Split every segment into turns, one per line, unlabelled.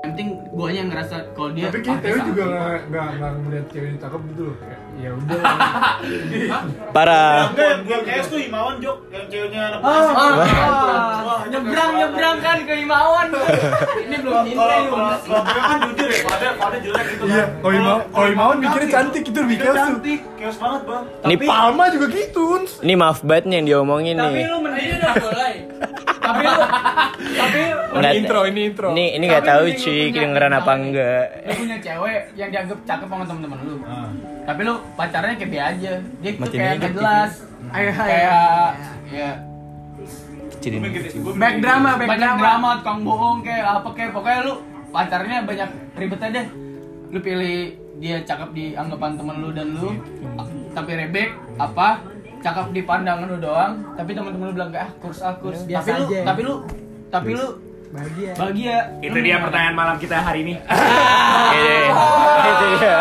penting guanya yang ngerasa kalau dia
Tapi kayaknya
pakai
Teo
sapi.
juga nggak nggak nggak melihat cewek ditangkap gitu loh. Kayak, Ya udah.
Parah.
Enggak, yang yang kayak tuh Imawan Jok, yang ceweknya anak
Ah,
Bekasi.
ah, nyebrang nyebrang kan ke Imawan. Ini belum
Kalau
cinta
kalau
ini belum
kalau Teo kan jujur ya, pada pada jelek gitu.
Iya, kalau Imawan- kalau Imawan mikirnya cantik gitu,
mikir
Mikasa.
cantik, kios banget bang.
Nih
Tapi-
Palma juga gitu. Uns.
Ini maaf banget nih yang diomongin
Tapi
nih.
lu mending udah mulai. Tapi lu tapi
Ini
Ngeliat-
intro, ini intro.
Ini ini nggak
Tapi
tahu
mending lu
cik
punya- ya.
dengeran apa
misalnya
enggak.
lu punya cewek yang dianggap cakep sama teman-teman lu. Tapi lu pacarnya kayak biasa aja. Dia tuh
Makin
kayak
hidup
gak jelas. Kayak ya
Kecil
Gue
ini.
mikir, gue
Back
mikir-
drama, back
Iya. banyak
drama.
drama, tukang bohong kayak apa kayak pokoknya lu pacarnya banyak ribetnya deh. Lu pilih dia cakep di anggapan temen lu dan lu
Iya.
tapi rebek apa cakep di pandangan lu doang tapi teman-teman lu bilang kayak ah kurs ah kurs
Biasa
tapi lu
Iya, aja.
tapi lu tapi lu
Bahagia.
bahagia Hmm.
Itu
Lu
dia
gimana?
pertanyaan malam kita hari ini.
Itu,
ya.
itu dia.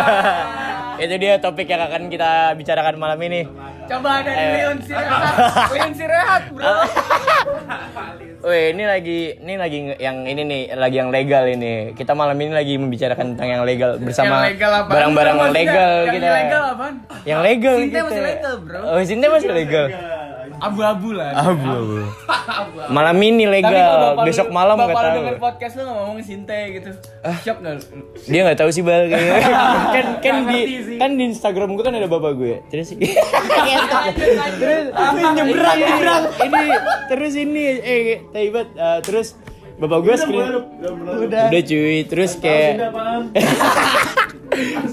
Itu dia topik yang akan kita bicarakan malam ini.
Coba dari
Ayo.
Leon Sirehat. Leon Sirehat, Bro.
Weh, ini lagi ini lagi nge- yang ini nih, lagi yang legal ini. Kita malam ini lagi membicarakan tentang yang legal bersama
Yang legal apaan?
barang-barang
Maksudnya,
legal
yang
kita.
legal apaan?
Yang legal.
Sinte
kita.
masih legal, bro.
Oh, Sinte masih legal.
Eh.
Abu-abu lah.
Abu. Malam ini
Tapi kalau
legal,
bapak
besok
lu-
malam
bapak
nggak
lu
tahu. Eh.
denger podcast lu ngomong Sinte gitu. Shock enggak lu?
Dia nggak tahu sih bal kayaknya. kan kan
Nggak
di
ngerti sih.
kan di Instagram gue kan ada bapak gue. Terus iya.
Terus
Ini nyebrang nyebrang. Iya, Ini terus ini eh taibat eh, terus bapak gue screen. Udah. cuy, terus kayak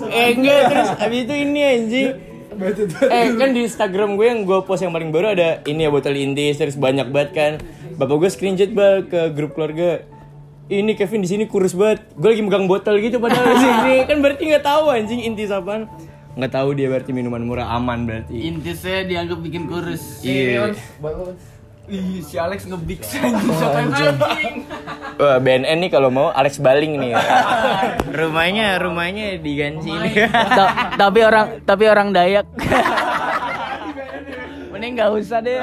eh enggak terus habis itu ini anjing. Eh kan di Instagram gue yang gue post yang paling baru ada ini ya botol indis terus banyak banget kan. Bapak gue screenshot bal ke grup keluarga. Ini Kevin di sini kurus banget. Gue lagi megang botol gitu padahal di sini kan berarti nggak tahu anjing inti apaan. Nggak tahu dia berarti minuman murah aman berarti.
Intisnya dianggap bikin kurus.
Iya.
Ih, si Alex ngebik siapa yang anjing?
Wah, BNN nih kalau mau Alex Baling nih. rumahnya rumahnya di Gansi ini.
tapi orang tapi orang Dayak. Mending nggak usah deh.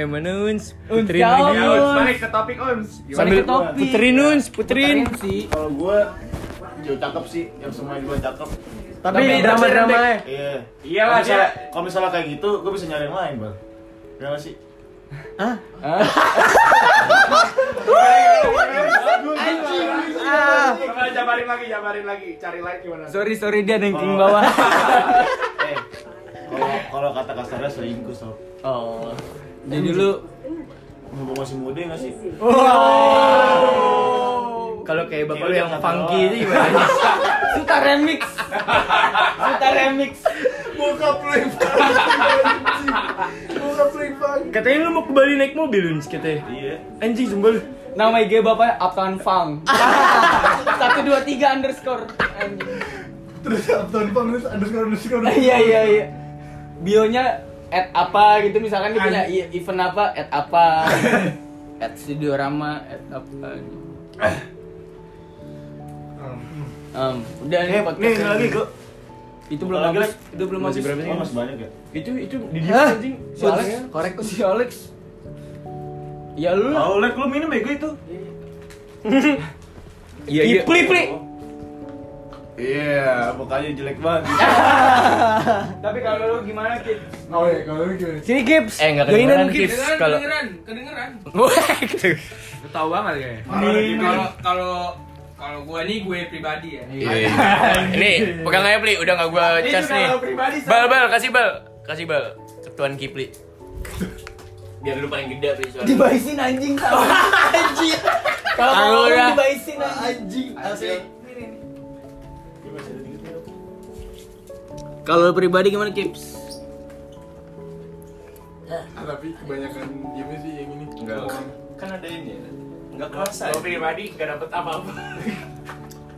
eh mana Uns?
Uns,
Putri
jauh,
lagi.
Ya,
Ons.
balik ke topik Ons. Gimana?
Sambil
ke topik.
Putri Nuns, Putrin.
sih.
Kalau gue, jauh cakep sih, yang semua gue cakep.
Tapi
Tapi
drama-drama ya.
Iya.
Iyalah,
Kalau misalnya-
dia-
Kalau misalnya kayak gitu, gue bisa nyari yang lain bang. Ya nggak sih.
Coba jabarin lagi, jabarin lagi. Cari lain gimana?
Sorry sorry dia nengking bawah.
Eh, kalau kalau kata kasarnya selingkuh sob.
Oh. Jadi lu
Mumpung masih muda nggak sih?
Kalau kayak bapak
Iya,
lu yang
udah,
funky
kata
itu gimana?
Suta remix. Suta remix.
Katanya lu mau ke Bali naik mobil Uns katanya.
Iya.
Anjing sumpah lu.
Nama IG bapaknya Uptown Funk. 123 underscore. Anjing.
Terus Abdon Pang terus underscore underscore.
Iya iya iya. Bionya at apa gitu misalkan dia punya i- event apa at apa at studio rama at apa gitu. um, udah nih
Nih
podcast
Eh, ini lagi gue.
itu belum
Lagi,
habis
lagi.
itu belum
Masih
habis
berapa sih?
Oh masih banyak ya?
Itu itu di dia
Hah?
anjing.
si Alex korek ke si Alex ya lu lah.
Oh, Lek, lu minum ya gue itu.
Iya iya. Pli pli.
Iya, mukanya jelek banget.
tapi kalau lu gimana kid
Oh iya, kalau lu gimana?
Sini Gibbs.
Eh enggak kedengeran tips kalau
kedengeran.
Wah, gitu.
Lu tahu banget kayaknya.
ya. Kalau kalau kalau gua nih gue pribadi ya.
Iya.
Ini pegang aja Pli, udah enggak gua cas nih. Bal bal kasih bal. Kasih bal. Ketuan Kipli. Biar lu paling gede Pli suara.
dibaisin anjing sama anjing kalau
Tahu
lu
dah.
dibaisin anjing asli kalau lu pribadi gimana kips
Ah, tapi kebanyakan diemnya sih yang ini.
Enggak. Kan ada ini. Enggak kerasa.
Gue pribadi gak dapet apa-apa.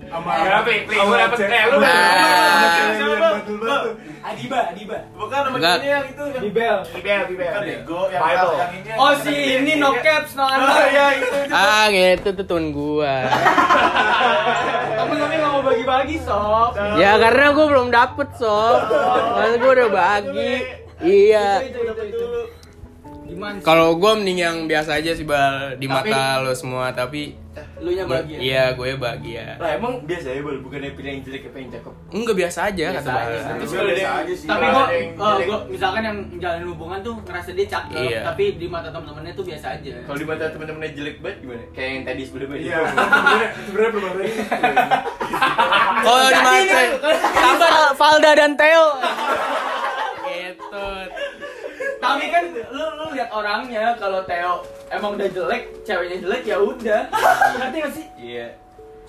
Gak dapet, Pli. Gue dapet. Eh, lu
Nah.
Adiba, Adiba.
Bukan namanya
Enggak.
ini yang itu yang
Bibel. Bibel, Bibel.
Bukan Ego Kan yang
Bible.
yang ini. yang-
Oh si ini no caps no under.
Iya, itu.
Ah, gitu tuh tuan gua.
Kamu tapi nggak mau bagi-bagi sob.
Ya karena gue belum dapet sob Mas gue udah bagi Iya
Itu itu itu. gimana sih?
Kalau gue mending yang biasa aja sih bal di
Tapi-
mata lo semua tapi
lu
ya?
nya bahagia
iya gue bahagia.
Lah emang biasa ya bal, bukannya pilih yang jelek apa yang cakep.
Enggak biasa aja
Biasa
kata
aja.
Bal.
Tapi
Tapi
kalau biasa aja sih.
Iya. tapi
kalau
gua,
ada yang
eh,
jelek.
gua misalkan yang jalanin hubungan tuh ngerasa dia cakep
Iya.
tapi di mata temen-temennya tuh biasa aja
Kalau di mata teman-temannya jelek banget gimana? Kayak yang tadi sebelumnya.
Iya, sebenarnya- sebenarnya belum ada ini.
Kalau Oh, di mata
Tambah Valda dan Theo.
gitu.
tapi kan lu lu lihat orangnya kalau Theo emang udah jelek ceweknya jelek ya udah ngerti gak sih
Iya.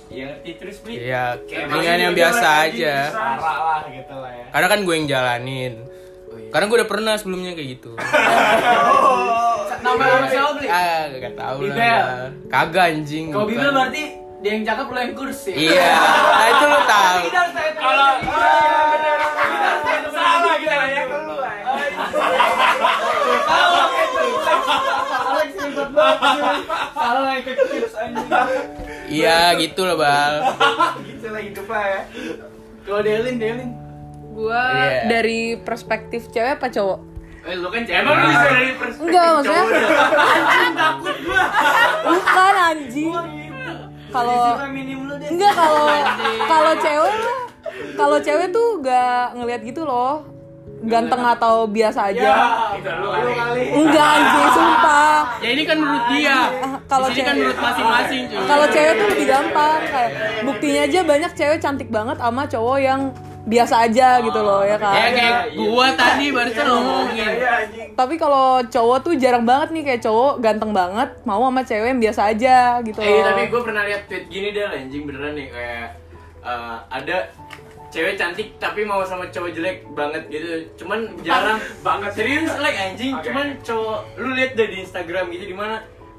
Iya ngerti terus beli.
Iya, mendingan yang biasa aja.
Parah lah gitu lah ya.
Karena kan gue yang jalanin.
Oh, iya.
Karena gue udah pernah sebelumnya kayak gitu.
nama nama siapa beli
ah, gak tau lah.
Bibel.
Bal. Kagak anjing.
kalau
bukan.
Bibel berarti dia yang cakep lu yang kursi
Iya, nah itu lo tahu.
kita harus tanya
Kalau Ah, iya, salah
salah
kita lah ya.
Ah, iya. salah salah sifat banget salah yang kecil anjing
Iya, gitu loh, Bal.
Gitu lah hidup lah ya.
kalau Delin Delin
Gua
Iya.
dari perspektif cewek apa cowok?
eh lu kan cewek
Emang lu bisa dari perspektif
Enggak maksudnya. Bukan anjing. Kalau
minim lu deh
enggak kalau kalau cewek mah- kalau cewek tuh gak ngelihat gitu loh. Ganteng atau biasa aja.
Itu Gitu lu kali.
Enggak anjing, sumpah.
Ya ini kan menurut dia.
Ah, Kalau
Ini kan
cewek
menurut masing-masing, cuy.
kalau cewek tuh lebih gampang kayak buktinya aja banyak cewek cantik banget sama cowok yang biasa aja gitu loh ya kan.
Ya kayak gua tadi
Iya,
barusan ngomongin.
Tapi kalau cowok tuh jarang banget nih kayak cowok ganteng banget mau sama cewek yang biasa aja gitu loh.
Eh tapi gue pernah lihat tweet gini deh anjing beneran nih kayak eh, ada cewek cantik tapi mau sama cowok jelek banget gitu cuman jarang banget serius like anjing
Oke.
cuman cowok lu lihat deh di Instagram gitu di mana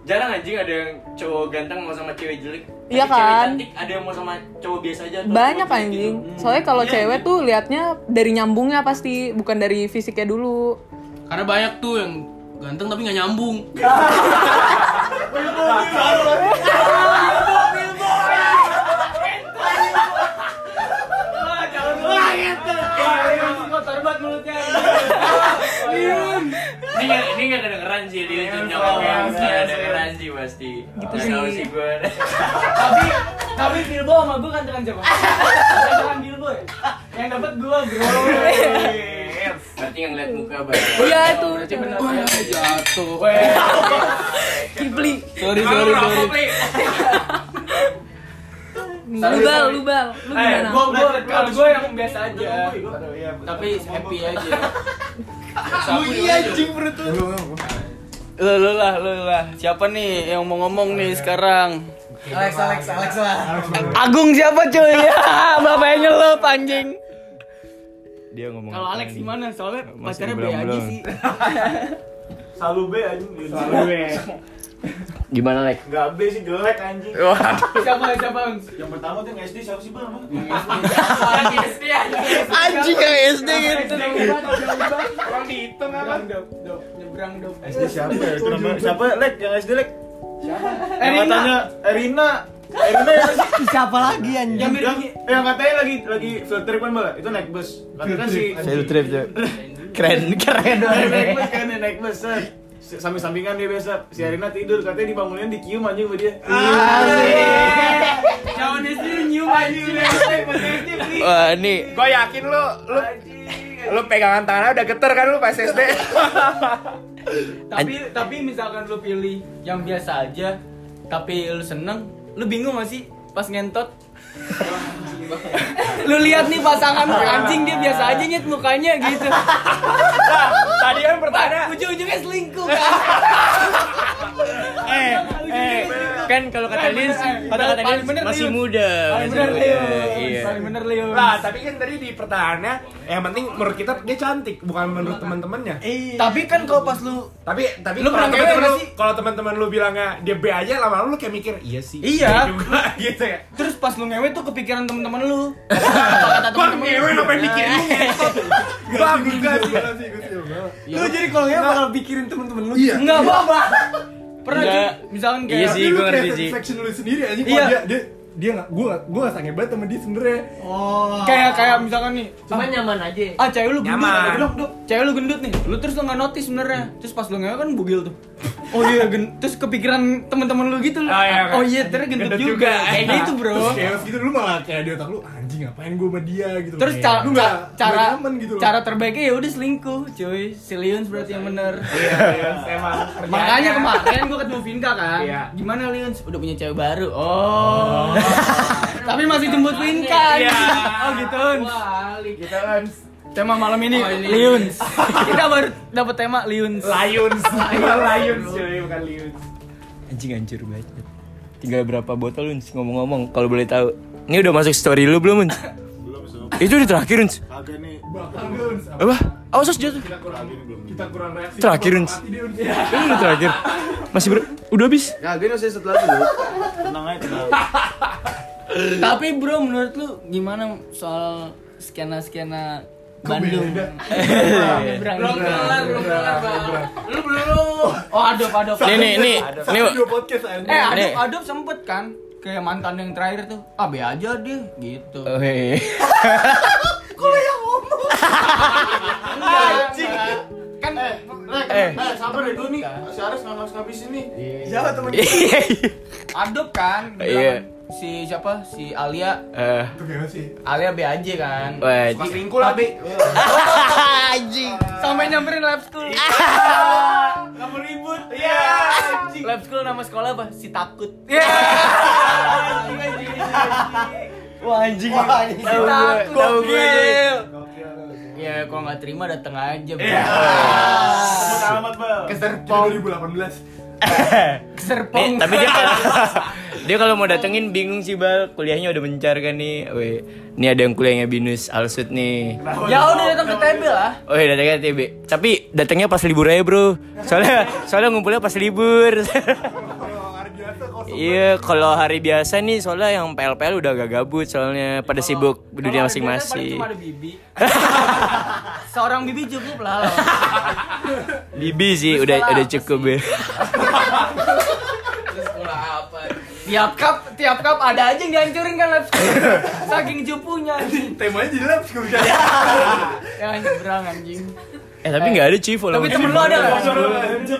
jarang anjing ada yang cowok ganteng mau sama cewek jelek
Iya
Tapi cewek
kan?
cantik ada yang mau sama cowok biasa aja atau
banyak
cowok jelek
anjing.
gitu.
Soalnya kalau
Iya,
cewek
anjing.
tuh liatnya dari nyambungnya pasti bukan dari fisiknya dulu.
Karena banyak tuh yang ganteng tapi nggak nyambung.
kotor banget mulutnya
ini nggak ini nggak kedengeran sih
Iya,
dia tuh nyokap yang nggak kedengeran sih pasti gitu
sih.
sih gue
tapi tapi Bilbo sama gue kan tekan siapa tekan Bilbo ya yang dapat gue bro
berarti nggak ngeliat muka banget
Iya itu.
Wah, jatuh.
Kipli.
Sorry,
Kalau
sorry,
lu rokok,
sorry.
Pli.
Lubal, lubal. Lu
Eh,
gimana?
gue gue kalau gue yang biasa aja tapi happy aja
Lu lu lah, lu lah. Siapa nih yang mau ngomong nih sekarang?
Alex Alex Alex lah
Agung siapa cuy? Ya, bapaknya nyelup anjing. Dia ngomong.
kalau Alex gimana soalnya
Masih
pacarnya B
belum-
aja
belum.
sih
Selalu B anjing.
Gimana, Lek?
Enggak B sih jelek anjing.
siapa siapa
Yang pertama tuh yang SD siapa sih Bang?
Anjing yang SD gitu.
orang dihitung apa dop dop nyebrang dop
SD siapa ya? Kenapa- Siapa Lek yang SD Lek? Yang
Erina
katanya Erina. Erina yang sih?
Siapa lagi anjing?
yang
yang, eh,
biru-
yang katanya lagi lagi field trip kan Bal? Itu naik bus. Katanya kan si
Field trip, cuy. Keren, keren.
naik bus kan naik bus. set. Si- Samping-sampingan dia biasa. Si Erina tidur katanya dibangunin dicium anjing sama dia.
Ah.
Jangan disuruh nyium aja
Wah, ini
Gua yakin lu lu lu pegangan tangannya udah geter kan lu pas SD.
Tapi tapi misalkan lu pilih yang biasa aja tapi lu seneng, lu bingung gak sih pas ngentot? lu lihat nih pasangan lu, anjing dia biasa aja nyet mukanya gitu.
Tadi kan bertanya
Ujung-ujungnya selingkuh kan.
eh eh kan kalau kata Lins, kata kata
Paling
Lins
bener,
masih
Lins.
muda.
Paling
masih
bener
muda,
Leo.
Iya.
Paling bener Leo.
Lah, tapi kan tadi di pertahanannya yang penting menurut kita dia cantik, bukan menurut teman-temannya.
Tapi kan kalau pas lu
Tapi tapi
Lu pernah
kalau teman-teman
ngewe
lu
nggak sih?
kalau teman-teman lu bilangnya dia B aja lama-lama lu kayak mikir, iya sih.
Iya.
dia juga gitu ya.
terus pas lu ngewe tuh kepikiran temen-temen lu. Apa kata
Bang
temen-temen lu?
ngewe lu pengen mikirin lu ngentot. Bang juga sih.
Lu jadi kalau ngewe bakal pikirin temen-temen lu. Enggak apa-apa. Pernah
Enggak.
sih, misalkan
Iya
kayak
sih, gue ngerti sih.
Section lu sendiri anjing.
Iya.
Iya. Dia, dia,
dia nggak gue nggak gue nggak sange banget sama dia sebenernya
Oh.
kayak kayak misalkan nih
Cuma nyaman aja.
ah cewek lu gendut
Nyaman.
apa bilang dok cewek lu gendut nih lu terus lu nggak notice sebenarnya terus pas lu ngewe kan bugil tuh oh iya gen- terus kepikiran teman-teman lu gitu loh
Oh, iya, kan.
oh iya ternyata gendut,
Gendut
juga,
juga. Iya.
kayak gitu bro
terus chaos gitu lu malah kayak di otak lu anjing ngapain gue sama dia gitu
terus
Kayak,
cara
lu nggak
Iya.
cara
nggak nyaman gitu loh.
cara terbaiknya ya udah selingkuh cuy silions berarti yang bener
Iya, Emang kerjaannya.
Makanya kemarin gue ketemu Vinka kan.
Iya.
Gimana Lions? Udah punya cewek baru. Oh. Tapi masih jemput Vinka.
Iya.
Oh gitu. Kita Gitu, Tema malam Oh, ini Lions. Kita baru dapat tema Lions.
Lions, Bukan Lions cuy, bukan Lions.
Anjing hancur banget. Tinggal berapa botol Unz ngomong-ngomong kalau boleh tahu. Ini udah masuk story lu belum Unz?
belum sob
Itu udah terakhir Unz.
kagak nih
Bakal gue, Uns. Apa?
Apa? Awas Unz jatuh.
kita kurang
ini belum
kita kurang reaksi
Terakhir,
bakal
Uns.
mati dia, Uns. Ya.
Ini udah terakhir. Masih ber udah habis.
kagak ini saya Ya, setelah dulu tenang aja tenang
Tapi bro menurut lu gimana soal skena-skena Bandung?
Belum kelar, belum kelar, Bang. Lu belum.
Oh aduh aduh.
Nih nih nih. Nih.
Dua podcast anjing.
Eh
Nih.
aduh aduh sempet kan kayak mantan yang terakhir tuh. Ah be aja deh gitu.
Oh, hei.
anjing
Kan
Eh.
eh sabar deh dulu nih si Aris nggak harus habis ini
Siapa temen
Adopt kan
Iya.
bilang si siapa si Alia
Eh,
Itu gimana sih?
Alia BAJ kan
wah,
pas selingkuh lah bi
anjing.
sampai nyamperin lab school
kamu ribut iya anjing
lab school nama sekolah apa si takut
Wah, anjing.
si
Tahu gue,
takut
tahu gue.
Gokil. ya kalau nggak terima datang aja bro
selamat bal
Keserpong 2018
serpong
Nih, tapi dia kalau dia kalau mau datengin bingung sih bal kuliahnya udah mencar kan nih Weh, nih ada yang kuliahnya binus alsut nih
ya udah datang ke TB lah
oh iya datangnya TB tapi datangnya pas libur aja bro soalnya soalnya ngumpulnya pas libur
Kalau hari biasa kosong
iya kalau hari biasa nih soalnya yang PL-PL udah agak gabut soalnya pada sibuk dunia
Kalau ada biasa paling
masing-masing
cuma ada bibi seorang bibi cukup lah
bibi sih udah
sekolah
udah
apa
cukup ya
tiap cup tiap cup ada aja yang dihancurin kan lab school saking cupunya anjing
Temanya jadi lab school kan?
ya anjing berang anjing
eh tapi nggak ada cuy follow
tapi temen lu ada nggak?
Ini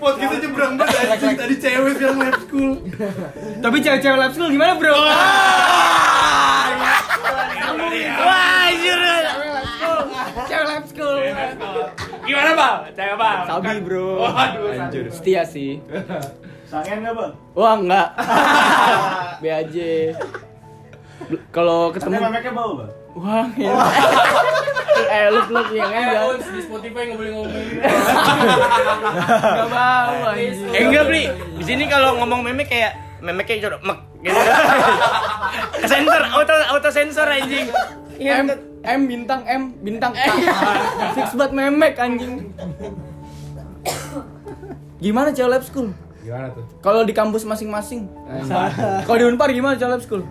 podcast aja berang banget anjing Tadi cewek sekarang lab school
tapi cewek-cewek lab school gimana bro
wah anjir
cewek lab school cewek lab school
Gimana bal? Cewek bal.
Kan. sabi bro
Waduh, anjir.
setia sih
sangen nggak bal
wah enggak be aja kalau
sangen
ketemu
memeknya bau bal
wah ya. eh lu lu yang enggak
Ya, Di Spotify nggak boleh ngomong.
enggak bau anjing.
Eh enggak beli. Di sini kalau ngomong meme kayak meme kayak jorok mek gitu. Sensor auto auto sensor anjing.
M M bintang M bintang K fix buat memek anjing gimana cewek lab school
Gimana tuh?
kalau di kampus masing-masing kalau di unpar gimana cewek lab school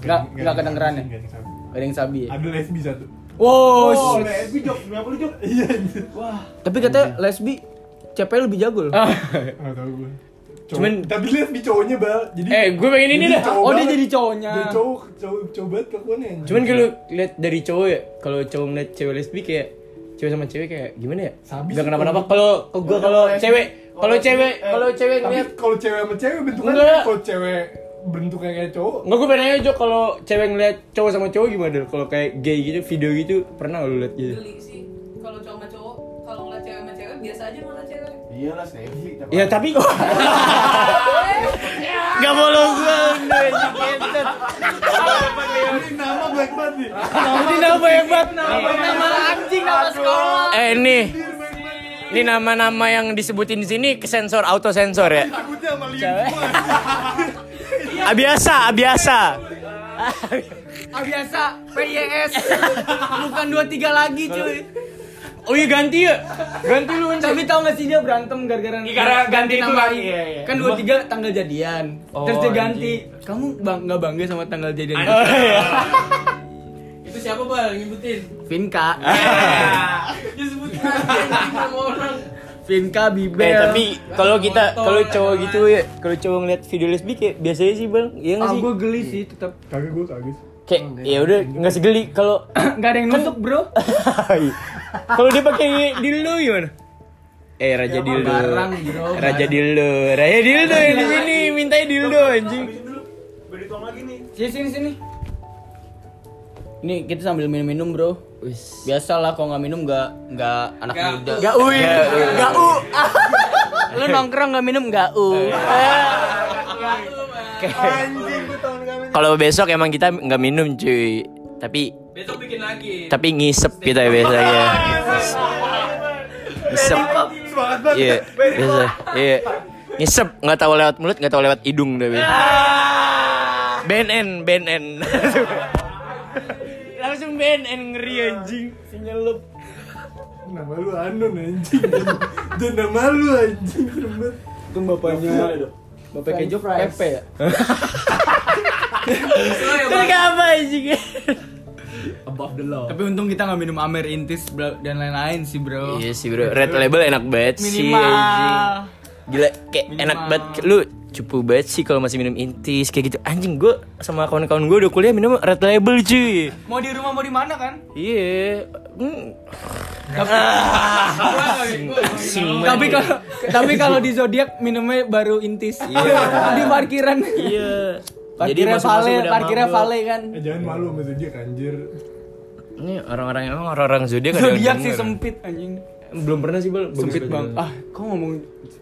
Nggak- nggak kedengeran ya? ada yang sabi ya
Ada lesbi satu
wow shit.
lesbi jok nggak boleh jok
Iya anjir
Tapi katanya lesbi CP lebih jago loh.
Gak tau gue Cuman
Cuman-
Tapi lesbi cowoknya bal Jadi
Eh gue pengen ini dah.
cowok
Oh dia
banget.
jadi cowoknya.
Dia cowok cowok cowok banget kelakuannya anjing.
Cuman kalau lihat dari cowok ya, kalau cowok ngeliat cewek lesbi kayak cewek sama cewek kayak gimana ya?
Sabi
Enggak
sih.
kenapa-napa. Kalau kalau gue
Kalau
kalau
lesbi-
cewek,
kalau
kalau
lesbi,
cewek,
eh,
kalau cewek
Tapi
ngeliat
kalau cewek sama cewek bentukannya
Enggak.
Kalau cewek bentuknya kayak cowok
Enggak gue pengen nanya Jo kalau cewek ngeliat cowok sama cowok gimana? Del? Kalau kayak gay gitu, video gitu pernah nggak lu liat gitu?
geli sih kalau cowok sama cowok kalau ngeliat cewek sama cewek biasa aja malah cewek
iyalah snappy
Ya tapi nggak
Eh.
follow gue udah educated.
Ini nama black banget nih
Ini nama hebat nama.
Nama anjing nama sekolah.
Eh nih. Ini nama-nama yang disebutin di sini kesensor autosensor ya.
Takutnya sama liat semua
Ah, biasa, ah, biasa.
Ah biasa PYS. Bukan 23 lagi cuy.
Oh iya ganti ya. Ganti lu.
Tapi tau gak sih dia berantem gara-gara
Gara Iya, ganti itu
nama.
lagi. Iya, iya.
Kan 23 tanggal jadian.
Oh,
Terus dia ganti. Kamu bang nggak bangga sama tanggal jadian?
Oh, iya.
Itu siapa, Bal? Nyebutin.
Ah.
Vinka.
Disebutin aja, anjing, sama orang.
Vinka Bibel.
Eh tapi kalau kita
Botol,
kalau cowok
ya kan?
gitu ya, kalau cowok ngeliat video lesbik ya biasanya sih bang, iya nggak
ah
sih?
gue geli sih tetap
Kagak gue kagak.
Kayak ya udah nggak segeli kalau
nggak ada yang
Kan
nusuk bro
kalau dia pakai dildo gimana? Eh
Iya,
raja dildo,
barang, bro,
raja dildo, raja dildo yang di sini mintanya dildo anjing.
Habisin dulu. Beri tuang lagi nih.
sini sini sini ini kita sambil minum-minum bro biasa lah kalau nggak minum nggak nggak anak muda
Gak uin, gak u.
lu nongkrong nggak minum nggak
Eh,
uh
Kalau besok emang kita nggak minum cuy, tapi
besok bikin lagi
tapi ngisep kita ya biasanya. Ngisep. Iya, biasa. Iya. Ngisep nggak tahu lewat mulut, nggak tahu lewat hidung deh. biasa.
Ah.
BNN, BNN. Langsung BNN ngeri anjing. Sinyelup.
Nama lu Anon anjing. Dan nama lu anjing.
itu bapaknya bapak kejo Pepe ya
Terus apa anjing?
Tapi untung kita nggak minum Amer Intis bro, dan lain-lain sih bro.
Iya sih bro, red label enak banget sih
Minimal.
anjing. Gila, kayak
Minimal.
enak banget lu cupu banget sih kalau masih minum intis kayak gitu anjing gue sama kawan-kawan gue udah kuliah minum red label cuy
Mau di rumah mau di mana kan?
iya Hmm.
tapi kalau tapi kalau di zodiak minumnya baru intis
Iya.
di parkiran
iya
parkirnya vale
masuk-masuk udah
parkirnya
mabok.
vale kan
Eh jangan malu sama dia anjir.
ini orang-orang emang orang-orang zodiak ada yang
zodiak sih
denger.
sempit anjing
belum pernah sih bal
sempit bang ah kok ngomong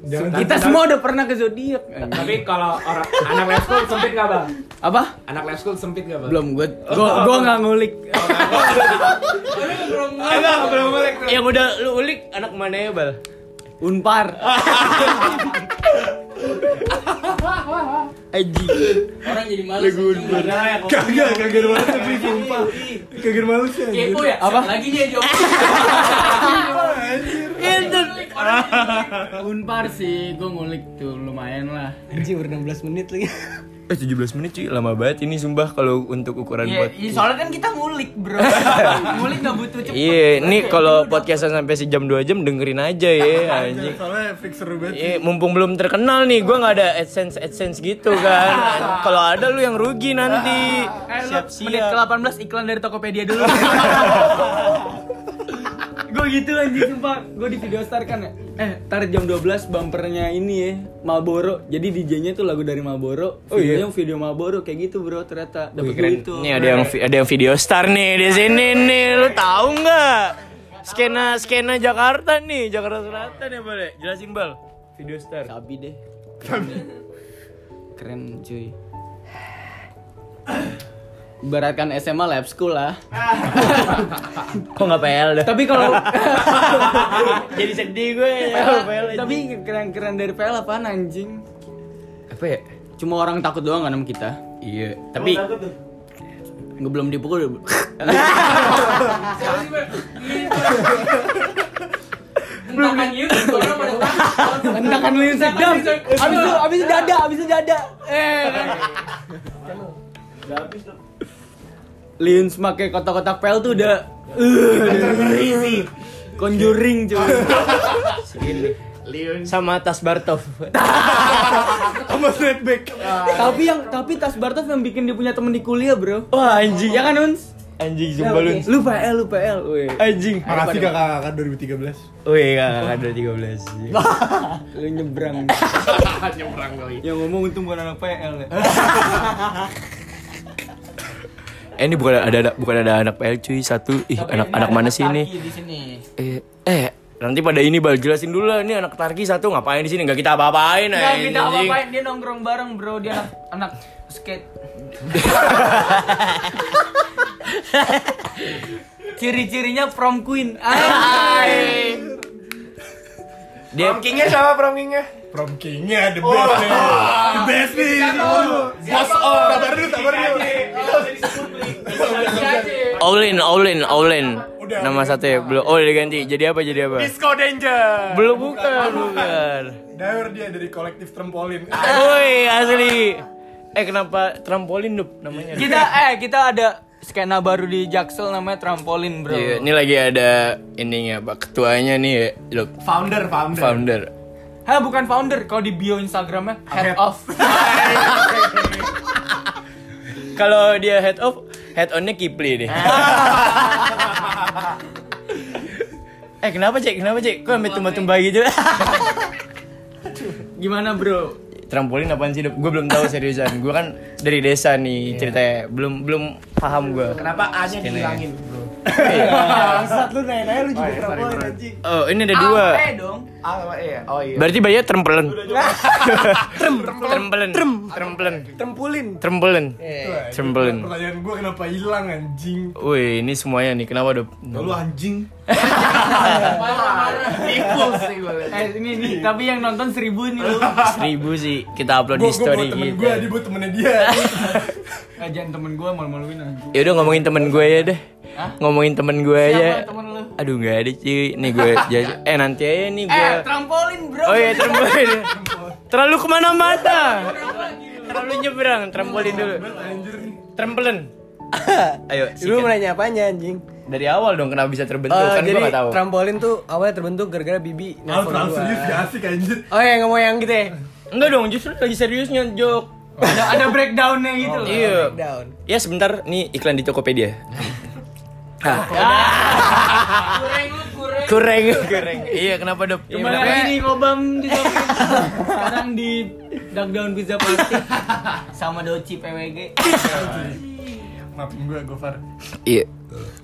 Jangan
kita semua udah pernah ke zodiak anjing.
Tapi kalau orang anak lab school sempit nggak bang?
apa
Anak lab school sempit nggak bang?
belum gue gue gue nggak ngulik
yang udah lu ulik anak mana ya bal
unpar
Aji
orang jadi malu
Kagak, kagak ada malu tapi
Iya.
sumpah. Kagak ada malu sih anjir.
ya apa lagi dia jawab
Anjir.
unpar sih gue ngulik tuh lumayan lah
eh 17 menit cuy lama banget ini sumpah kalau untuk ukuran buat
Iya, iya, soalnya kan kita ngulik bro. ngulik nggak butuh cepet.
Iya, ini kalau podcastan sampai sejam dua jam dengerin aja ya, anjing.
Soalnya fix seru banget.
Iya, mumpung belum terkenal nih, gue nggak ada adsense adsense gitu kan. kalau ada lu yang rugi nanti.
Menit ke
Siap-siap.
18 iklan dari Tokopedia dulu.
gue gitu anjing sumpah gue di video star kan ya eh ntar jam 12 bumpernya ini ya Malboro jadi DJ nya tuh lagu dari Malboro
Oh, iya.
videonya video Malboro kayak gitu bro ternyata
Wih,
dapet
keren.
duit tuh
Nih ada yang vi- ada yang video star nih di sini nih, lu tahu nggak? Skena skena Jakarta nih, Jakarta Selatan ya boleh. Jelasin bal. Video star.
sabi deh keren cuy Ibaratkan SMA lab school lah
Kok nggak PL dah?
Tapi kalau
Jadi sedih gue. ya, PL aja.
Tapi keren-keren dari PL apaan anjing
apa ya?
Cuma orang takut doang kan sama kita
Iya. Tapi
Nggak belum dipukul udah-
Makan yuk, orang pada takut.
Hentakan liu sedap Abis itu, abis itu dada, abis itu dada Eh kan Liun pakai kotak-kotak pel tuh udah uh, Conjuring cuy
sama tas Bartov.
Tapi yang tapi tas Bartov yang bikin dia punya temen di kuliah bro
Wah anjing.
Ya kan Uns?
Anjing jumpa lu.
Lu PL, lu PL weh.
Anjing.
Makasih kakak-kakak 2013.
Wih, kakak ada 13.
Lu nyebrang
Nyebrang kali.
Yang ngomong untung bukan anak PL ya
Eh ini bukan ada, ada bukan ada anak PL cuy satu ih anak anak mana sih ini? Eh, eh nanti pada ini bal jelasin dulu lah ini anak tarki satu ngapain di sini nggak kita apa-apain anjing.
Nggak kita apa-apain dia nongkrong bareng bro dia anak, anak skate. Ciri-cirinya prom queen.
Dia
Prom King-nya the best ya. nih. The best nih. Bos on. Sabar dulu, sabar dulu.
Olin Olin Olin nama satu ya belum oh udah diganti jadi apa jadi apa? Disco Danger belum bukan bukan.
Dawer dia dari kolektif Trampolin.
Woi asli eh kenapa trampolin nup namanya?
kita eh kita ada
skena baru di Jaksel namanya trampolin bro.
Iya, ini lagi ada ininya pak ketuanya nih ya, look
Founder, founder.
founder.
Hah bukan founder, kalau di bio Instagramnya head off.
Kalau dia head off, head onnya Kipli nih.
Ah.
eh kenapa cek? Kenapa cek? Kok sampai tumpah-tumpah gitu?
Gimana bro?
Trampolin apaan sih? Gue belum tahu seriusan. Gue kan dari desa
Iya.
nih ceritanya. Belum belum paham ya. gue.
Kenapa A-nya
Skinnya.
dihilangin, bro?
Bangsat lu
Oh,
nanya-nanya lu juga trampolin anjing.
Iya. Oh ini ada dua.
dong.
iya, A sama E ya? Oh iya.
Berarti bayinya trempelen. Trem, trempelen. Trem, trempelen.
Trempulin.
Trempelen.
Iya.
Itu aja.
Trembelin.
Pertanyaan gue kenapa hilang anjing?
Wih, ini semuanya nih. Kenapa ada?
Ya Lu anjing.
Eh ini nih, tapi yang nonton seribu nih lu.
Seribu sih. Kita upload
Gue
di story
temen
gitu.
gue, dia buat temennya dia.
Eh,
Ngajakin temen gue malu-maluin anjing.
Ya udah ngomongin temen gue ya deh. Ngomongin temen gue aja.
temen lu?
Aduh nggak ada cuy. Nih gue jaj- Eh nanti aja nih gue.
Eh, trampolin bro.
oh iya trampolin. Terlalu kemana-mana. Terlalu nyebrang. Trampolin dulu. Trampolin. Ayo.
Lu
sikat.
mau nanya apanya anjing?
Dari awal dong kenapa bisa terbentuk
Eh,
kan gue
jadi
nggak tahu.
trampolin tuh awalnya terbentuk gara-gara Bibi
Kalau
nelfon
terlalu
gua.
serius gak asik anjir.
Oh ya ngomong yang gitu ya?
Enggak dong justru lagi seriusnya jok.
Ada ada breakdownnya gitu loh.
Iya.
Down.
Ya sebentar nih iklan di Tokopedia. Ah,
Kureng lu kureng.
kurang kurang. Iya kenapa dok? Iya,
Kemarin
kenapa?
ini kobam di Shopee. Sekarang di Duck Down Pizza Plastik.
Sama Doci PWG.
Maafin gue, Gofar.
Iya.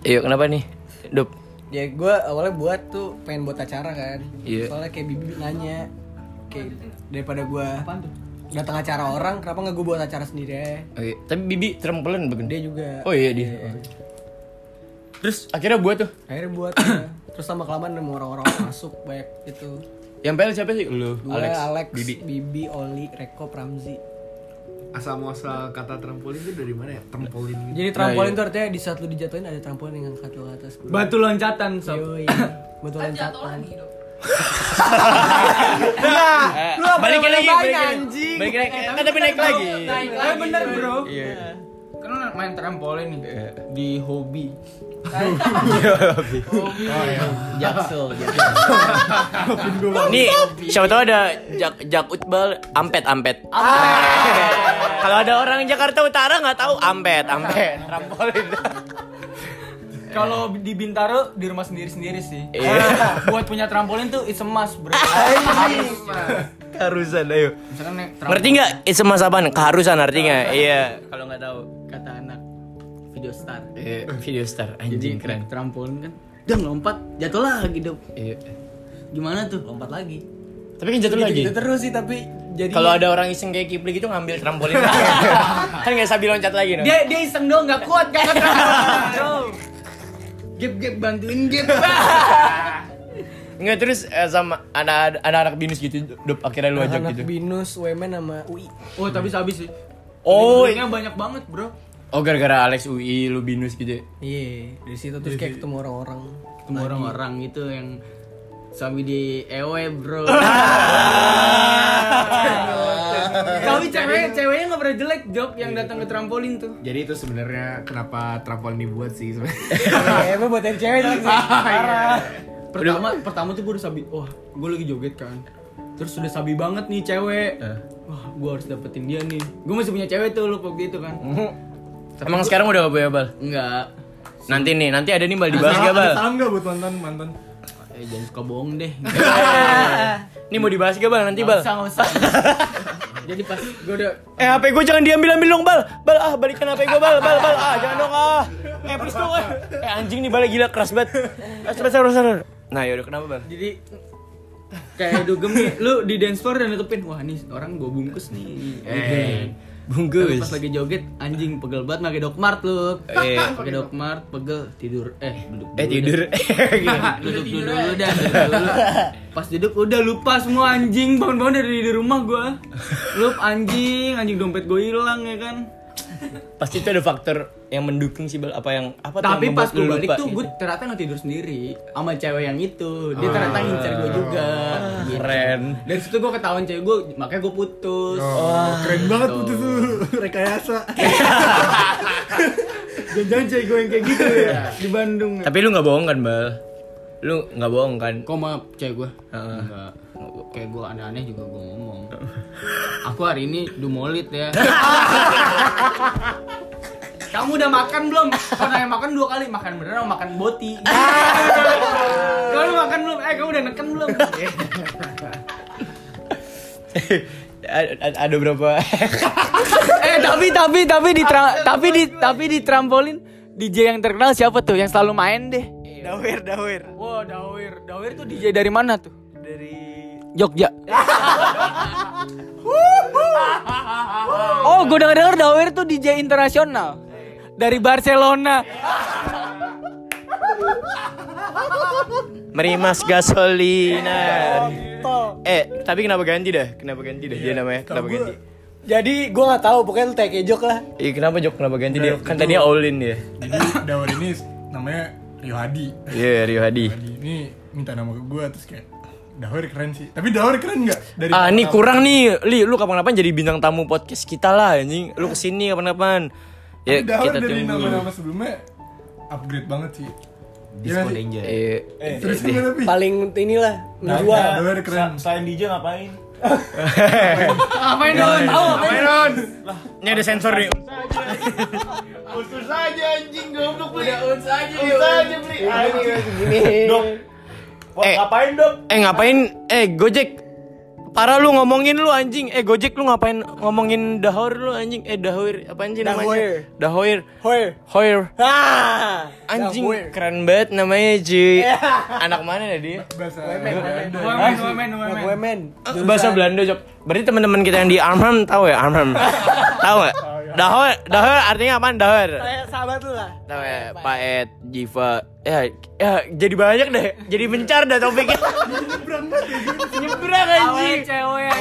Iya kenapa nih? Dok.
ya gue awalnya buat tuh pengen buat acara kan.
Iya.
Soalnya kayak Bibi nanya. Kayak daripada gue datang acara orang, kenapa nggak gue buat acara sendiri aja?
Oke, Oh, iya. tapi Bibi trempelan
Dia
begede
juga.
Oh iya dia. Terus akhirnya buat tuh.
Akhirnya buat ya. terus sama kelamaan nemu orang-orang masuk banyak gitu. itu.
Yang PL siapa sih? Lu,
Gue,
Alex,
Alex,
Bibi.
Bibi. Oli, Reko, Ramzi.
Asal muasal kata trampolin itu dari mana ya? Trampolin gitu.
Jadi trampolin tuh artinya di saat lu dijatuhin ada trampolin yang angkat lu ke atas. Batu loncatan, sob. Batu
Kan jatuh
loncatan.
lagi dong.
Eh, balikin lagi,
ngapain,
balikin.
anjing?
Balikin lagi. Kan tapi naik lagi.
Eh bener bro.
Iya.
Kan lu main trampolin nih di hobi.
Jaksel.
Nih, siapa tahu ada Jak Jak Utbal Ampet Ampet. Kalau ada orang Jakarta Utara nggak tahu Ampet Ampet. Trampolin.
Kalau di Bintaro di rumah sendiri-sendiri sih.
Iya.
Buat punya trampolin tuh it's a must bro.
Keharusan ayo.
Misalkan nih
Ngerti nggak? Itu mas apaan? Keharusan artinya. Iya. Kalau nggak tahu.
Kata anak video star.
Eh, video star anjing keren.
Trampolin kan. Jam lompat, jatuh lagi dong.
Iya.
Gimana tuh? Lompat lagi.
Tapi kan jatuh lagi.
Gitu terus sih tapi jadi
Kalau ada orang iseng kayak Kipli gitu ngambil trampolin. kan nggak sabi loncat lagi no?
dia dia iseng dong nggak kuat kan
gap gap bantuin gap.
Nggak terus eh, sama anak- anak-anak binus gitu. Dup, akhirnya lu ajak
Anak
gitu.
binus, women sama UI.
oh tapi habis sih
Oh, i-
Linknya banyak banget bro
oh gara-gara Alex UI lu binus gitu. ya?
Iya, dari situ terus kayak ketemu orang-orang.
ketemu orang-orang itu yang suami di ewe bro tapi cewek ceweknya nggak pernah jelek job yang datang ke trampolin tuh
Jadi itu sebenarnya kenapa trampolin dibuat sih sebenarnya.
Eh, emang buat yang cewek jelek sih.
pertama pertama tuh gue udah sabi wah gue lagi joget kan terus udah sabi banget nih cewek wah gue harus dapetin dia nih gue masih punya cewek tuh lu waktu itu kan
Emang sekarang udah gak punya bal?
enggak
Nanti nih, nanti ada nih bal dibahas gak bal?
Salam gak buat mantan mantan?
eh jangan suka bohong deh
Nih mau dibahas gak bal nanti bal?
Nggak usah, nggak usah. Jadi pas gue udah
Eh HP gue jangan diambil-ambil dong bal Bal ah balikan HP gue bal bal bal ah jangan dong ah Eh please dong ah. Eh anjing nih balnya gila keras banget Keras banget sarur sarur Nah yaudah kenapa bal?
jadi kayak dugem nih, lu di dance floor dan nutupin wah nih orang gue bungkus nih. Eh,
Bungkus
pas lagi joget anjing pegel banget pakai dokmart lu.
Eh.
pakai dokmart pegel tidur eh duduk.
Eh
dulu
tidur
dah. Duduk dulu dulu dah, duduk dulu. Pas duduk udah lupa semua anjing bangun-bangun dari di rumah gua. Lup anjing, anjing dompet gue hilang ya kan.
Pasti itu ada faktor yang mendukung sih bal Apa yang apa tuh
Tapi
yang
pas
membuat
gue
lu
balik
lupa
tuh
gitu? Ah.
gue ternyata nggak tidur sendiri sama cewek yang itu. Dia ternyata ngincer gue juga. gitu.
Keren
Dari situ gue ketahuan cewek gue, makanya gue putus.
Keren banget putus tuh rekayasa.
Jangan cewek gue yang kayak gitu ya di Bandung.
Tapi lu nggak bohong kan, Bal? Lu nggak bohong kan?
Kok sama cewek gue?
Heeh.
Ah.
Enggak. Kayak gue aneh-aneh juga gue ngomong. Aku hari ini dumolit ya.
Kamu udah makan belum? Kalau nanya makan dua kali, makan beneran sama makan boti.
Ah.
Kamu udah makan belum? Eh, kamu udah neken belum?
A- a- ada berapa?
eh tapi tapi tapi di tra- tapi di tapi di trampolin DJ yang terkenal siapa tuh yang selalu main deh?
dawir, dawir.
Wah, Dawir. Dawir tuh
DJ dari mana tuh?
Dari
Jogja. oh, gue denger denger Dawir tuh DJ internasional dari Barcelona.
Merimas gasolina. Eh, tapi kenapa ganti dah? Kenapa ganti dah dia namanya? Kenapa ganti?
Iya, Jadi gue nggak tahu pokoknya lu kayak kejok lah.
Iya, kenapa Jok? Kenapa ganti dia?
Dari
Kan
itu-
tadinya all in dia.
Jadi Dawar ini namanya Yohadi.
Iya, Rio Hadi.
Yohadi ini minta nama ke gue terus kayak Dawar keren sih. Tapi Dawar keren nggak? Dari
Ah, nih kurang nih. Li, lu kapan-kapan jadi bintang tamu podcast kita lah anjing. Lu kesini kapan-kapan. Ya,
Tapi Dawar
kita
dari
tunggu.
nama-nama sebelumnya upgrade banget sih. Iya,
Disco
nggak sih?
Danger.
Eh,
Terus gimana Pi?
Paling inilah
Dawar-
menjual.
Dawar keren.
Selain DJ ngapain?
ngapain dulu? Tahu ngapain?
ini ada sensor nih.
Usus aja anjing goblok
Udah uns aja
Usus aja beli Dok. Wah,
Eh.
ngapain dok?
Eh, ngapain? Eh, Gojek. Para lu ngomongin lu anjing. Eh, Gojek lu ngapain ngomongin Dahor lu anjing? Eh, Dahor apaan sih namanya? Dahoir.
Hoy.
Hoir.
Ah.
Anjing keren banget namanya Ji. Anak mana ya dia?
Bahasa
Women, women, women.
Gue men.
Bahasa Belanda, Jok. Berarti teman-teman kita yang di Arnhem tahu ya Arnhem? tahu ya. nggak? Dahoer, dahoer artinya apaan dahoer?
Eh,
Kayak sahabat lu lah.
Tahu ya, Paet, Jiva. Ya, ya jadi banyak deh. Jadi mencar dah topiknya. ya, Nyebrang anjing.
cewek.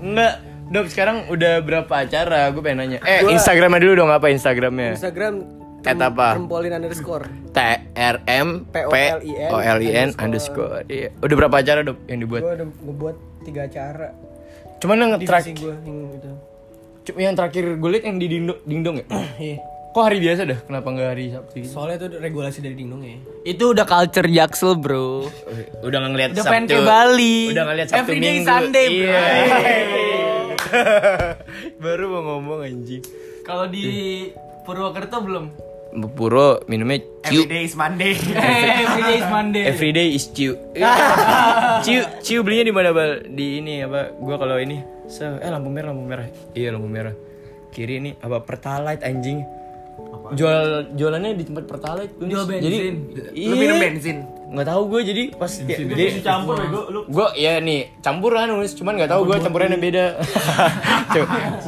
Enggak. Dok, sekarang udah berapa acara? Gue pengen nanya. Eh, Instagramnya dulu dong apa Instagramnya?
Instagram
At apa?
Trampolin underscore.
T R M P O L I N underscore. Iya. Udah berapa acara dok yang dibuat?
Gue udah ngebuat tiga acara.
Cuman yang
Divisi
terakhir,
gue yang gitu.
yang terakhir gue liat yang di dingdong, dingdong ya.
Iya.
Kok hari biasa dah? Kenapa nggak hari Sabtu? gitu?
Soalnya itu regulasi dari Dingdong ya.
Itu udah culture jaksel, Bro.
Udah nggak ngeliat
Udah
Sabtu.
pengen ke Bali.
Udah nggak ngeliat Sabtu
Everyday
Minggu.
Sunday, bro.
Iya. Baru mau ngomong anjing.
Kalau di Purwokerto belum?
Puro minumnya ciu.
is Monday.
Eh, everyday is Monday.
Everyday is ciu. ciu, ciu belinya di mana bal? Di ini apa? Gua kalau ini, se eh lampu merah, lampu merah. Iya lampu merah. Kiri ini apa? Pertalite anjing. Jual jualannya di tempat Pertalite. Unis.
Jual bensin.
Jadi, iya.
Lu minum bensin?
Nggak tahu gue jadi pas jadi
Campur ya gua, lu.
gue ya nih campuran Unis cuman nggak tahu gue campurannya beda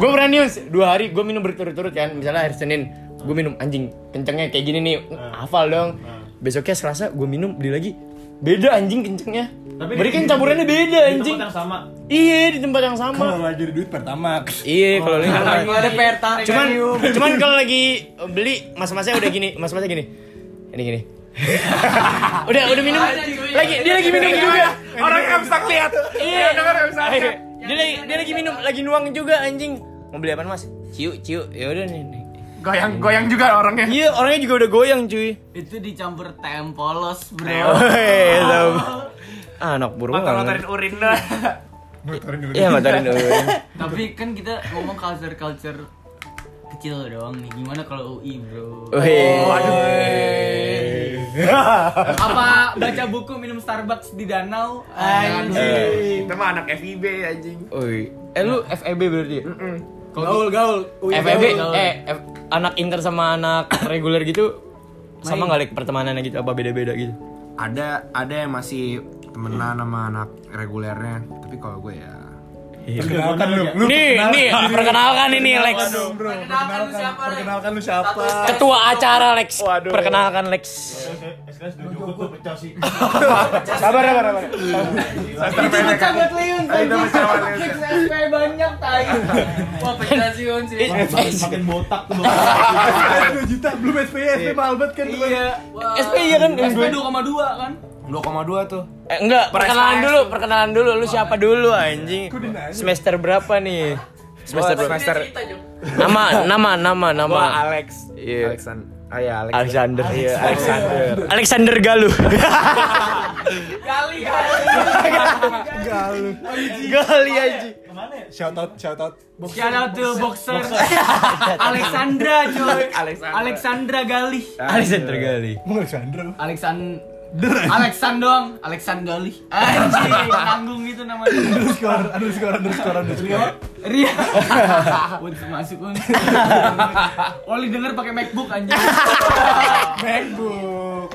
gue pernah nih Unis, dua hari gue minum berturut-turut kan misalnya hari senin gue minum anjing kencengnya kayak gini nih
Ah.
hafal dong besoknya selasa gue minum beli lagi beda anjing kencengnya
Tapi
berarti
di-
kan
di-
campurannya beda
Di
anjing
tempat yang sama.
iya di tempat yang sama
Kalau lagi ada duit pertama.
iya kalau lagi
Kalau ada perta.
cuman cuman kalau lagi beli mas-masnya udah gini mas-masnya gini ini gini udah udah minum lagi dia lagi minum juga
Iya. Orang yang bisa lihat.
Iya, Dia lagi dia lagi minum, lagi nuang juga anjing. Mau beli apa mas? Ciu, ciu. Ya udah nih. nih.
Goyang goyang juga orangnya.
Iya, orangnya juga udah goyang cuy. Eh,
Itu dicampur tempolos, bro.
Oh. Woi, tahu. Ah, Anak burung.
Ngotorin Oh. urin dah.
Nuterin dulu.
Iya, ngotorin dulu.
Tapi kan kita ngomong culture culture kecil doang nih. Gimana kalau UI, bro?
Woi.
Apa baca buku minum Starbucks di danau? Anjir.
Kita mah anak FIB anjing.
Woi. Eh lu FEB berarti? ya?
Nah. Gaul gaul. Ui,
FEB
gaul.
eh F- anak inter sama anak reguler gitu sama nggak like pertemanannya gitu apa beda-beda gitu?
ada ada yang masih temenan sama anak regulernya tapi kalau gue ya
Perkenalkan lu. Lu
Iya. Nih, nih perkenalkan ini Lex.
Perkenalkan lu siapa, Lex?
Perkenalkan lu siapa?
Ketua acara Lex. Perkenalkan Lex.
SKS udah cukup gua pecah sih.
Sabar, sabar, sabar.
Itu pecah buat Leon. Kick SP banyak tai. Wah, pecah sih Leon sih.
Makin botak tuh.
2 juta belum SPS mahal banget kan teman.
Iya.
SP iya kan?
SP 2,2 kan?
2,2 tuh
Eh, enggak, perkenalan dulu, perkenalan dulu. Lu siapa dulu anjing? Semester berapa nih? Semester
Gua-
berapa?
Semester. Cerita, Jok.
Nama, nama, nama, nama.
Gua Alex.
Iya.
Alexan- ah, iya, Alex.
Alexander.
Iya, Alexander. Iya.
Alexander Galuh.
Gali
Galuh.
Gali aja.
Kemana ya? Shout out, shout out.
Shout out to boxer. Alexandra coy. Alexandra Galih.
Iya.
Alexander Gali.
Alexandra.
Alexan Alexan doang, Alexan Galih. Anjing, nanggung itu namanya. Iya,
Underscore, underscore, underscore, underscore.
Ria. Uns masuk uns. Oli denger pakai MacBook anjing.
MacBook.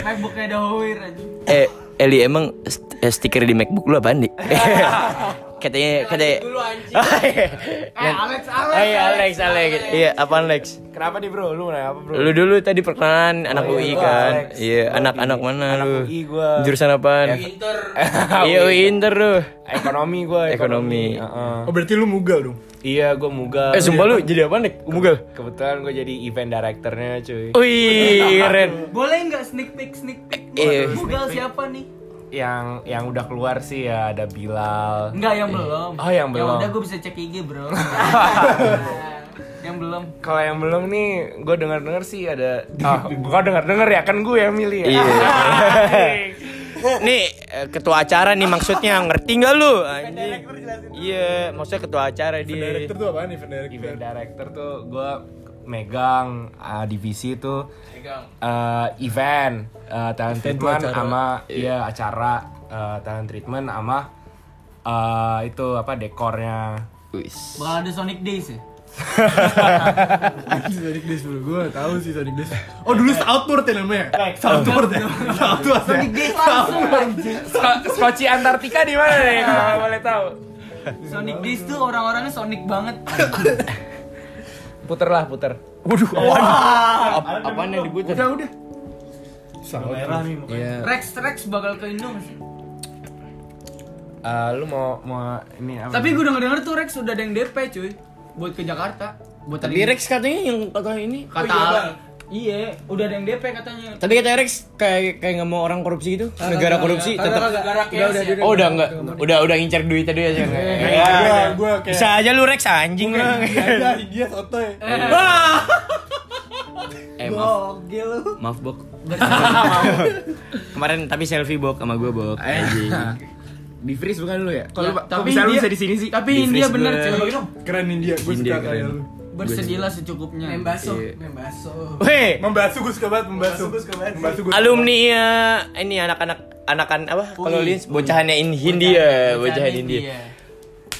MacBooknya ada Huawei anjing.
Eh, Eli emang st- eh, stiker di MacBook lu apaan, Di? katanya katanya
Dulu anjing. Eh,
Yang-
Alex, Alex.
Hey, Alex, Alex. Iya, apaan Lex?
Kenapa nih bro? Lu nanya apa bro?
Lu dulu tadi perkenalan anak
iya,
UI
gua
kan?
Alex.
Iya, anak-anak mana lu?
UI gua.
Jurusan apaan?
Inter.
Iya, UI Inter lu.
Ekonomi gua.
Ekonomi.
Heeh.
Oh, berarti lu mugal dong.
Iya, gua mugal.
Eh, sumpah lu jadi apaan, Nek? Mugal.
Kebetulan gua jadi event directornya cuy.
Wih, keren.
Boleh nggak sneak peek sneak peek?
Iya.
Google siapa nih?
Yang yang udah keluar sih ya ada Bilal.
Enggak yang belum.
Oh, yang
Ya
belum.
udah gue bisa cek IG, Bro. yang belum.
Kalau yang belum nih, gue dengar dengar sih ada. Oh, gue dengar dengar ya kan gue yang milih. Ya?
Iya. Nih eh, ketua acara nih maksudnya ngerti nggak lu? Anjing. Iya, maksudnya ketua acara di.
Director tuh apaan event director?
Event director tuh gue megang ah, divisi tuh eh, event eh, talent
Event tuh
treatment
acara.
sama iya acara eh, talent treatment sama eh, itu apa dekornya.
Bakal ada Sonic Days ya?
Anjing Sonic Days dulu, gue tahu sih Sonic Days Oh dulu Southport ya namanya? Southport ya? Southport ya?
Sonic Days langsung anjing.
Skoci Antartika di mana
Ah.
nih kalau boleh tahu?
Sonic Days tuh orang-orangnya Sonic banget.
Puter lah puter.
Waduh, apaan? Ap- apaan yang diputer?
Udah, udah Merah nih
Iya.
Rex Rex bakal ke Indo nggak sih?
Eh, lu mau mau ini apa?
Tapi gue denger denger tuh Rex udah ada yang DP cuy buat ke Jakarta. Buat
Tapi
tadi-
Rex katanya yang kata ini.
kata Iya, udah ada yang DP katanya.
Tapi kata Rex kayak kayak nggak mau orang korupsi gitu, negara korupsi tetap.
gara-gara case ya.
Oh udah enggak, udah udah ngincer duit tadi ya, aja.
Iya,
Gue, gue kayak
iya. Bisa aja lu Rex anjing lu.
"Iya,
Ada India sotoy
Eh maaf, maaf Bok. Kemarin tapi selfie Bok sama gue Bok.
Eh,
Anjing.
Di freeze bukan lu
Ya,
ya? Kalau
tapi
tapi bisa lu
India-
bisa di sini sih.
Tapi
Di
India
freeze
bener
gue.
cuy.
Keren India, gue
India
suka kayak
keren.
lu
Bersedilah secukupnya. Membaso,
Iya.
membaso.
Weh,
Membasuh gue suka banget, membasuh gue suka banget Membasuh gue
alumni ya ini anak-anak anakan apa kalau lins bocahannya in
Iya,
Hindia bocahan Hindia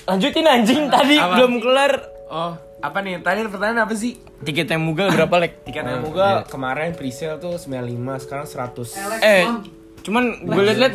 lanjutin anjing tadi
Iya. Apa?
belum kelar
Oh, apa nih? Tadi pertanyaan apa sih?
tiket yang mugal berapa lek iya.
Tiketnya moga kemarin pre-sale tuh 95, sekarang 100.
eh cuman gue liat liat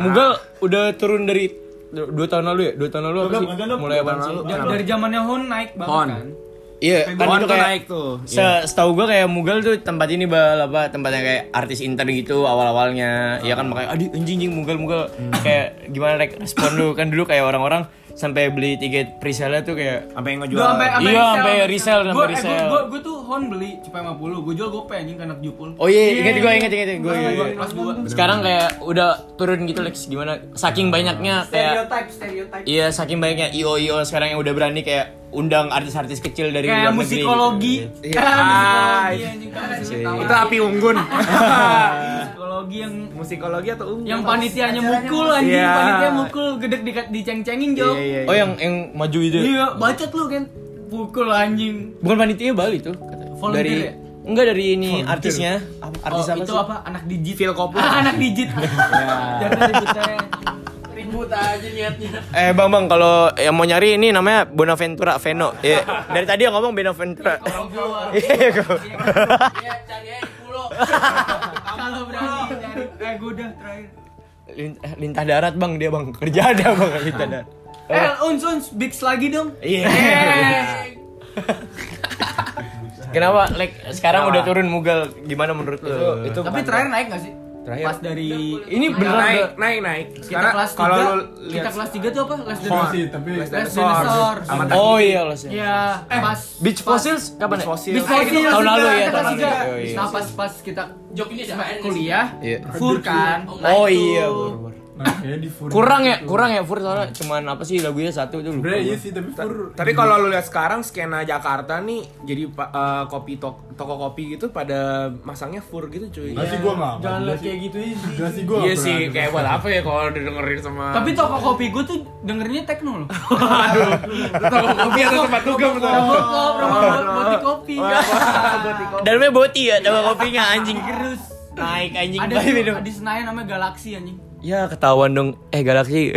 mugal udah turun dari du- dua tahun lalu ya dua tahun lalu apa
Bukan,
sih
bukan, bukan.
mulai apa
Tahun
sih
lalu.
Ya, dari zamannya Hun naik banget
Hon.
kan.
iya kan itu
Pohon tuh
kayak
naik tuh. Iya.
se setahu gue kayak mugal tuh tempat ini bal apa tempat yang kayak artis intern gitu awal awalnya ya kan makanya aduh anjing anjing mugal mugal
Hmm.
kayak gimana rek respon lu kan dulu kayak orang-orang sampai beli tiket presale tuh kayak
Sampai ngejual.
Gua sampai sampai
Iya,
resell,
sampai resell,
Gua-
sampai
eh,
resell.
Gua, gua, gua tuh Hon beli cepet 50, gua jual gope anjing ke anak Jupul.
Oh iya, inget gue, inget, inget gue.
iya.
Kelas dua.
Sekarang kayak udah turun gitu Lex, gimana? Saking banyaknya kayak
Stereotype, stereotype.
Iya, saking banyaknya IO IO sekarang yang udah berani kayak undang artis-artis kecil dari
Kayak
luar negeri
musikologi.
gitu.
Iya, musikologi anjing kan.
Itu api unggun.
Musikologi yang
Musikologi atau unggun?
yang panitianya mukul anjing,
Iya.
panitia mukul gedek di- diceng-cengin, Jo.
Iya, iya,
Oh, yang yang maju itu.
Iya, bacot lu kan. Pukul anjing.
Bukan panitia Bali tuh.
Volunteer
Dari
ya?
enggak dari ini artisnya. Apa-
Oh,
Artis apa
itu
sih?
apa? Anak digit. Phil anak digit. Jangan ribut saya.
Ribut aja niatnya.
Eh Bang Bang kalau yang mau nyari ini namanya Bonaventura Veno. Iya. Dari tadi yang ngomong Bonaventura. Iya, kok.
Iya, cari aja di pulau.
Kalau berani dari eh gua udah terakhir.
Lin- eh, Lintah darat Bang dia Bang. Kerja ada Bang lintah darat.
Eh, uns uns bigs lagi dong. Eh.
Iya. Kenapa Lek sekarang udah turun mugal gimana menurut lu?
Itu, itu
Tapi
bukan-
terakhir naik gak sih?
Terakhir.
Pas dari
ini beneran
naik,
udah-
naik, naik.
kita
Sekarang
kelas 3.
kalau lu
kita
lihat
kelas 3 tuh apa? Les
Iya
dinosaur.
sih, tapi
Les
Dinosaur.
dinosaur.
Sama
Oh iya loh sih.
Iya, pas
Beach
pas-
Fossils kapan ya?
fossil.
Beach Fossils juga,
Tahun
kita
lalu ya, tahun
kelas
lalu.
tiga.
Iya, iya.
Nah, pas pas kita
Jok ini siapa?
kuliah,
Iya.
full kan.
Oh iya. Bur, bur.
Nah,
Kurang ya, kurang ya Fur soalnya cuman apa sih lagunya satu itu lupa.
Bre,
gua.
iya sih, tapi Fur-
Tapi kalau lu lihat sekarang skena Jakarta nih jadi pa- eh, kopi tok- toko kopi gitu pada masangnya fur gitu cuy.
Iya.
Nggak sih, gua nggak. Jangan Nggak lihat sih. kayak
gitu
Nggak sih, gua
Iya
nggak
sih
berani.
kayak buat apa ya kalau dengerin sama
Tapi toko kopi gue tuh dengernya tekno loh.
toko kopi atau tempat dugem tuh.
Robokop, robokop, boti kopi.
Dalamnya boti ya, sama kopinya anjing.
Terus
naik anjing.
Ada
Bayi
tuh,
minum.
di Senayan namanya Galaxy anjing.
Ya ketahuan dong. Eh Galaxy.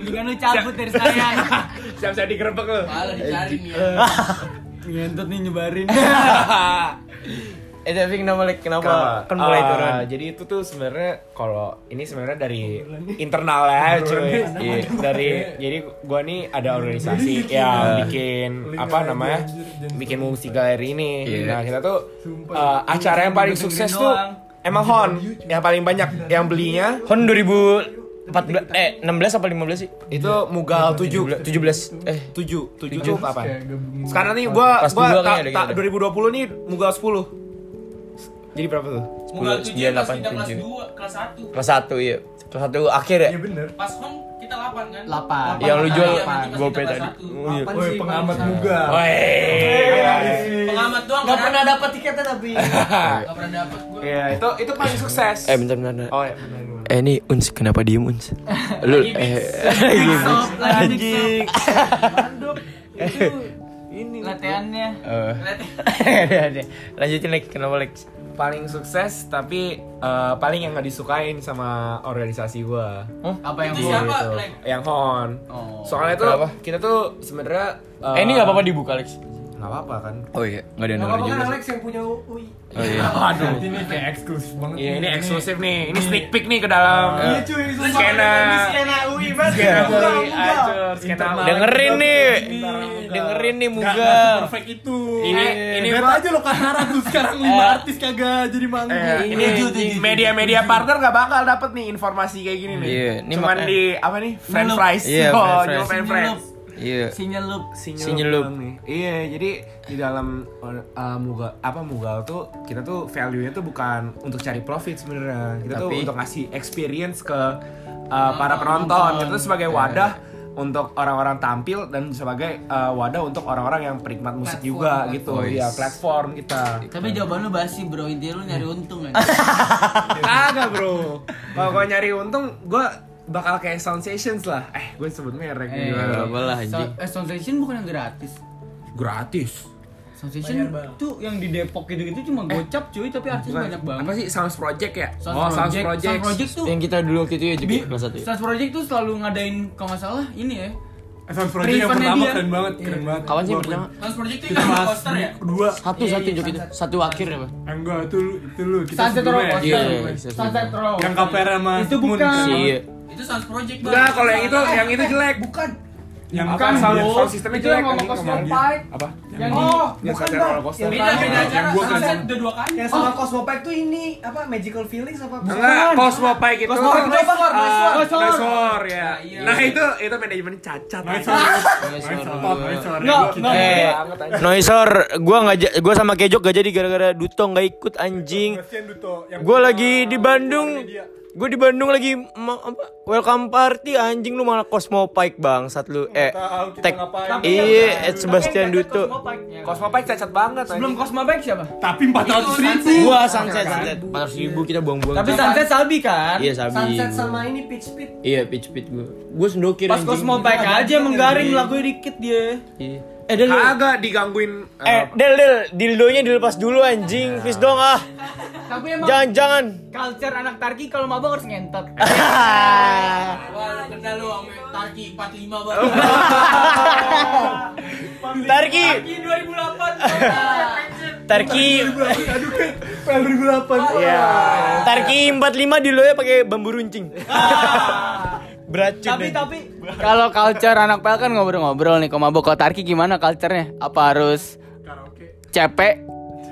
Dengan lu cabut dari Senayan.
Siap-siap digerebek lu.
Malah dicari nih.
Ngentot nih nyebarin.
eh tapi kenapa like, kenapa
Kenapa?
kan mulai
Ah,
turun?
Jadi itu tuh sebenarnya kalau ini sebenarnya dari internal ya cuy. Iya, dari jadi gua nih ada organisasi
Jadi
yang
bikin-
bikin
Link
apa
Iya. aja,
namanya? Bikin musik galeri ini.
Iya.
Nah, kita tuh
Sumpah.
eh, acara yang paling sukses tuh emang Hon yang paling banyak yang belinya
Hon 2014 eh 16 apa 15 sih?
itu Mugal 7
17 eh
7 7
Tujuh.
tuh kapan? Sekarang nih gua
Kelas
gua
dua
ta-
kayaknya ada
ta-
gitu.
2020 nih Mugal 10. Jadi berapa tuh?
10 9 8 7.
2, kelas 1.
Kelas 1 iya. Kelas 1 akhir ya?
iya bener.
Pas home kita 8 kan?
Yang Ya, lu jual gopay tadi.
Woi, pengamat juga.
Pengamat doang.
Nggak
kan?
pernah dapat tiketnya tapi.
Nggak pernah dapat gua.
Iya, itu itu paling sukses.
Eh bentar bentar. bentar.
Oh, iya, benar.
Eh ini Uns kenapa diem Uns? Lu eh
Lagi
anjing.
ini latihannya.
Eh.
Latihan.
Lanjutin lagi kenapa Lex?
paling sukses tapi eh, paling yang nggak disukain sama organisasi gua Oh.
Apa yang
Gitu.
gua-
yang hon soalnya tuh
Kenapa?
kita tuh sebenarnya
Eh ini enggak apa-apa dibuka Lex.
nggak apa-apa kan
Oh iya, enggak ada yang denger juga. sih.
yang punya UI.
Oh iya.
Aduh.
Ini kayak eksklusif banget.
Iya ini eksklusif nih, ini sneak peek nih ke dalam
Ah. Iya,
Eh, skena
UI
skena UI, acur, skena UI.
Dengerin nih. Dengerin nih Muga. Iya,
Perfect itu.
Ini ini
Lihat
gua-
aja lo kasar tuh sekarang lima artis kagak jadi
Iya,
manggung.
eh, ini media-media partner nggak bakal dapet nih informasi kayak gini nih.
Iya, ini
Cuman
makanya-
di apa nih? French
Nyelup.
fries.
Iya,
Oh,
french fries.
cuma french
Nyelup.
fries.
Iya.
Sinyal loop.
Sinyal
Sinyal
doang nih. Iya, jadi di dalam uh, mugal apa mugal tuh kita tuh value-nya tuh bukan untuk cari profit sebenarnya. Kita tuh
Tapi- Ah,
untuk ngasih experience ke uh, para penonton. Kita tuh
Iya.
sebagai wadah untuk orang-orang tampil dan sebagai uh, wadah untuk orang-orang yang perikmat musik juga gitu.
platform.
Ya, platform kita.
Tapi jawaban lu basi bro, intinya lu nyari untung ya.
Kagak, Bro. Kalau gua nyari untung, gua bakal kayak Sound Sessions lah. Eh, gue sebut merek
Eh,
gimana?
Apa lah anjing.
So- eh, Sound Station bukan yang gratis.
Gratis.
Sound Station tuh yang di Depok gitu-gitu cuma gocap cuy, tapi artis
Bukan.
banyak banget.
Apa sih Sounds Project ya?
Sound
oh, Sounds
Project.
Project.
Sound Project tuh
Yang kita dulu waktu itu ya juga
Bi-
kelas 1.
Sound Project tuh selalu ngadain kalau nggak salah ini ya.
Eh, Sound Project yang
Riven-nya
pertama
dia.
keren banget, keren banget.
Kawan sih
Gua
yang pertama.
pun-
Sound Project itu
Kita
yang
bahas
poster ya.
Dua.
Satu satu jok itu. Satu akhir ya, Pak.
eh, Enggak, itu lu, itu lu. Kita
Sunset Row
sebelumnya ya.
poster.
Iya, iya, iya.
Sunset Row.
Yang kaper sama
Itu
Moon.
bukan.
Si iya.
Itu Sound Project
Enggak,
Bang.
kalau yang itu, yang itu jelek.
Bukan.
Yang
Apa,
kan
sound,
dia-
sound sistemnya
Itu
jelek.
yang ngomong
anjing,
Cosmo
ngomong.
Pike.
Apa?
Yang
bukan,
Oh,
Bang.
bukan coaster.
Yang
beda beda
Yang
acara.
gua kan
Sunset
sama-
udah dua kali.
sama Cosmopack tuh ini apa Magical Feelings apa?
Enggak, Cosmo Pike itu.
Cosmo Pike itu apa?
Ah,
Noise War.
Noise War,
Noise
ya.
Nah, iya.
Nah, itu itu manajemen cacat.
Nice
anjing.
Mantap, nice one.
Eh, Noisor, gua nggak ja- gua sama Kejok gak jadi gara-gara Duto nggak ikut anjing.
Kasian Duto. Yang
Gua
pertama
lagi di Bandung.
keluarnya dia.
Gua di Bandung lagi ma- apa, welcome party anjing lu malah Cosmo Pike bangsat lu. Eh,
tahu kita
tag
ngapain.
iya Ed Sebastian Duto.
Cosmo Pike cacat banget.
Sebelum
anjing.
Cosmo Bike siapa?
Tapi 400 ribu.
Gua sunset sunset 400 ribu kita buang-buang.
Tapi
jam.
Sunset Salbi kan?
Iya Sabi.
sama ini Pitch Pit.
Iya pitch pit gua. Gua sendokir
Pas
anjing.
Cosmo Bike aja emang garing lagunya dikit dia.
Iya. Eh, Del, Del.
Kagak digangguin.
eh, Del, Del, dildonya dilepas dulu anjing, please dong ah.
Tapi emang
Jangan, jangan.
culture anak Tarki kalau mabok harus ngentot. Wah, kena lu sama Tarki 45 banget.
Tarki,
Tarki 2008.
Tarki,
Iya.
Aduh, kayak tahun 2008.
Tarki 45
ya,
dildonya pakai bambu runcing. Beracun.
tapi
anjing.
tapi
Kalau culture anak pel kan ngobrol-ngobrol nih, kalau mabok kalau Tarki gimana culture-nya? Apa harus cepek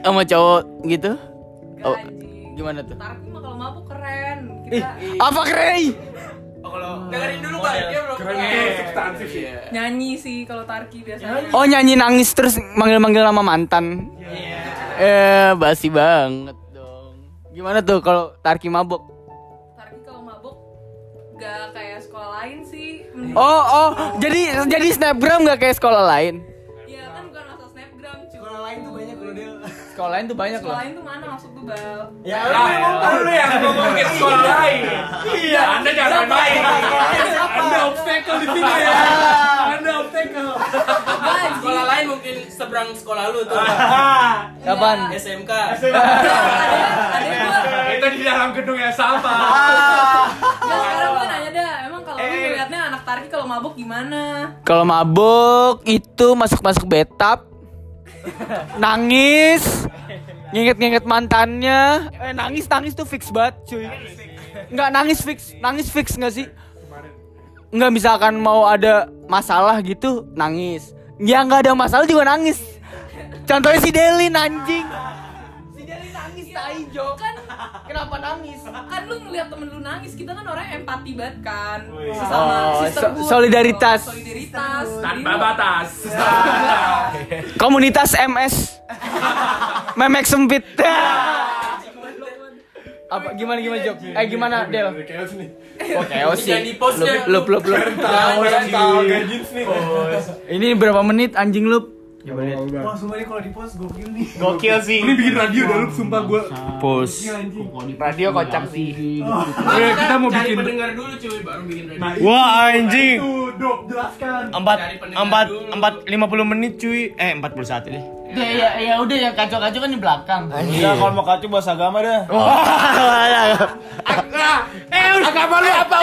sama cowok gitu? Oh, gimana tuh?
Tarki mah kalau mabuk keren. Kita
Apa keren?
Oh, dengerin dulu Pak, dia belum.
Keren tuh, substansif sih.
nyanyi sih kalau Tarki biasanya.
Oh nyanyi nangis terus manggil-manggil nama mantan.
Iya.
Eh basi banget dong. Gimana tuh kalau Tarki mabok?
Tarki kalau mabuk nggak kayak sekolah lain sih
Oh oh, jadi jadi snapgram nggak kayak sekolah lain?
ya kan bukan masuk snapgram cuy sekolah
lain tuh banyak loh del
Sekolah lain tuh banyak loh.
sekolah lain tuh mana maksud tuh bal
Ya,
lu yang ngomong, lu
nah.
yang ngomongin sekolah lain. Iya, Anda jangan main.
Anda obstacle di sini ya. Anda obstacle.
sekolah lain Eh, mungkin seberang sekolah lu tuh.
Kapan?
SMK.
Itu di dalam gedung yang sama.
Nah, sekarang gue nanya dah, emang kalau
Eh.
lu ngeliatnya anak tarki kalau mabuk gimana?
Kalau mabuk itu masuk-masuk betap, nangis, nginget-nginget mantannya. Eh nangis nangis tuh fix banget cuy. Nggak nangis fix, nangis fix nggak sih? Nggak misalkan mau ada masalah gitu nangis. Ya nggak ada masalah juga nangis. Contohnya si Delin anjing.
Si Deli nangis tai Jo. Kan kenapa nangis? Kan lu ngeliat temen lu nangis, kita kan orangnya empati banget kan.
iya.
Sesama
Oh,
sisterhood,
so- solidaritas.
gitu. Solidaritas.
Tanpa batas.
Komunitas MS. Memek sempit. Apa gimana gimana Jok? Eh gimana Del? Oh chaos sih.
Jangan di-post deh,
Lu lu lu.
Jangan, ya. jangan tahu,
gaji nih.
Ini berapa menit anjing lu?
Wah, sumpah ini kalau di post gokil nih.
Gokil sih.
Ini bikin radio dah lu sumpah gua.
Post. Radio kocak sih.
Eh, kita mau
Cari
bikin-
pendengar dulu cuy, baru bikin radio.
Wah anjing.
Tuh, Dok, jelaskan.
Empat
Cari pendengar
empat
dulu.
empat lima puluh menit cuy. Eh empat puluh satu deh.
Udah ya, ya udah yang kacau-kacau kan di belakang.
Iya, kalau
mau kacau bahasa agama dah.
Oh. Eh, agama lu apa?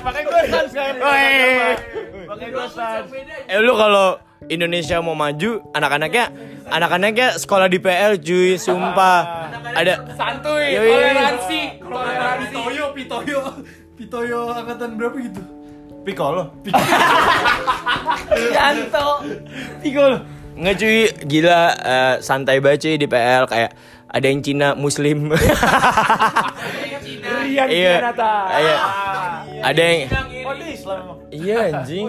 Pakai gue sans kan.
Woi.
Pakai gue sans.
Eh lu kalau Indonesia mau maju, anak-anaknya anak-anaknya sekolah di PL cuy, sumpah. Ada
Santuy,
Yoi.
toleransi, toleransi.
Pitoyo, Pitoyo. Pitoyo angkatan berapa gitu?
Piccolo.
Janto.
Piccolo. Nggak cuy, gila eh, santai banget cuy di PL kayak ada yang Cina Muslim.
Rian
Iya.
Janata.
Iya. Ada yang
Oh, dia Islam emang.
iya anjing.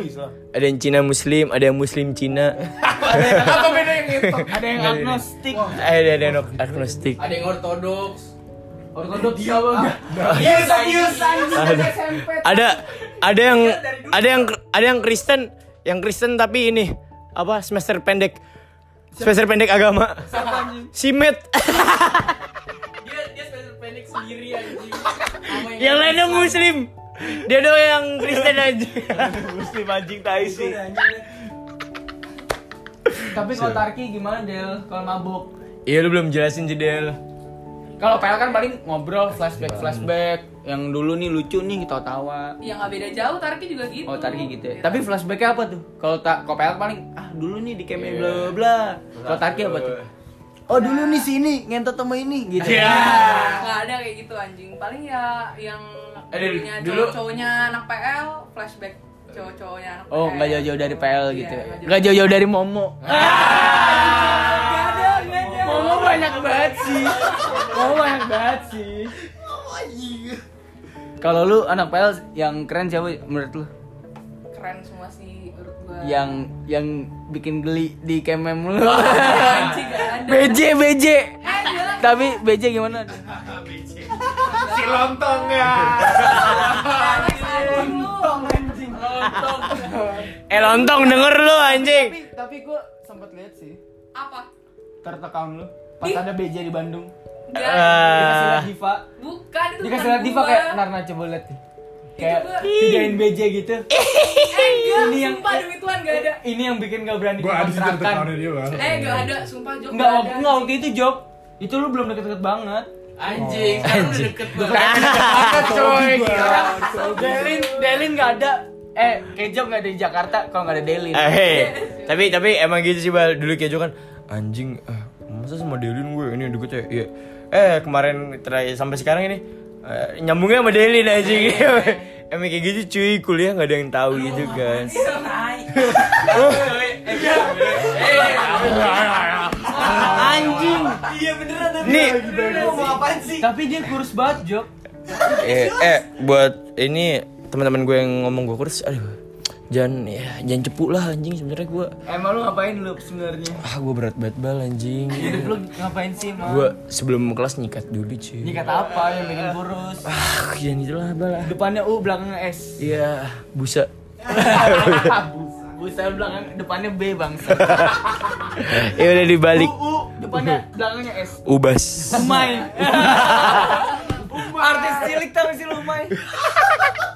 Ada yang Cina Muslim, ada yang Muslim Cina.
Apa beda yang itu?
Ada yang
Nggak,
agnostik.
Eh, ada ada yang agnostik.
Ada yang ortodoks.
Ortodoks ya bang.
Yes,
yes,
ada ada ada yang ada yang ada yang Kristen yang Kristen tapi ini apa semester pendek semester pendek agama simet
Dia dia spesial pendek sendiri anjing.
yang lainnya muslim dia doang yang Kristen aja
Muslim anjing tai sih.
Tapi kalau Tarki gimana Del? Kalau mabuk?
iya lu belum jelasin jedel
Kalau PL kan paling ngobrol flashback flashback yang dulu nih lucu nih kita tawa.
Ya nggak beda jauh, tarki juga gitu.
Oh Tarki gitu. ya. Tapi flashbacknya apa tuh? Kalau tak kalau PL paling ah dulu nih di kemen bla bla bla. Kalau Tarki apa tuh? Oh dulu nih sini ngentot sama ini gitu.
Iya.
Nggak
Iya.
ada kayak gitu anjing. Paling ya yang
Eh,
dulunya
dulu-
cowok-cowoknya anak PL flashback cowok-cowoknya anak Iya,
Oh nggak jauh-jauh dari PL gitu.
nggak jauh.
Nggak jauh-jauh dari Momo.
Oh,
Momo
banyak banget sih. Momo banyak banget sih. Kalau lu anak PL yang keren siapa menurut lu?
keren semua sih menurut gua.
Yang yang bikin geli di kemem lu.
Anjing, nggak ada.
BJ BJ.
Eh, gila.
Tapi BJ gimana?
Si lontong ya.
eh lontong denger lu anjing
Tapi, tapi gue sempet lihat sih
Apa?
tertekam lu pas ada BJ di Bandung.
Ah.
Dikasih
Eh,
lihat Diva.
Bukan itu
Dikasih
bukan
lihat Diva
gua.
kayak nah. Narna coba lihat nih. Kayak
gua.
videoin BJ gitu.
Eh, enggak,
Ini yang-
sumpah demi Tuhan gak ada.
Ini yang bikin gak berani
Gua ada sih
kontrakan.
tertawa dia bang.
Eh, gak ada, sumpah Jok.
Enggak
nggak
waktu enggak waktu itu Job. Itu lu belum deket-deket banget. Oh.
Anjing, sekarang udah deket banget.
Deket coy.
Gua.
Delin Delin nggak ada. Eh, Kejo nggak ada di Jakarta kalau nggak ada Delin.
eh, hey. tapi tapi emang gitu sih bal dulu kejo kan anjing eh, masa sama Delin gue ini deket ya Iya. eh kemarin terakhir sampai sekarang ini eh, nyambungnya sama Delin anjing emang kayak gitu cuy kuliah nggak ada yang tahu gitu guys
Anjing.
nih
Tapi dia kurus banget, Job.
eh, eh buat ini teman-teman gue yang ngomong gue kurus aduh jangan ya jangan cepu lah anjing sebenarnya gue
Emang lu ngapain lu sebenarnya?
ah gue berat banget bal anjing
Hidup lu ngapain sih, Mal?
gue sebelum kelas nyikat dulu cuy
Nyikat apa yang bikin kurus?
ah jangan itulah bal ah.
Depannya U, belakangnya S.
iya busa
Busa belakang depannya B, Bang.
ya udah dibalik
U, depannya belakangnya S.
ubas
Umay. Artis cilik tau sih lu Umay.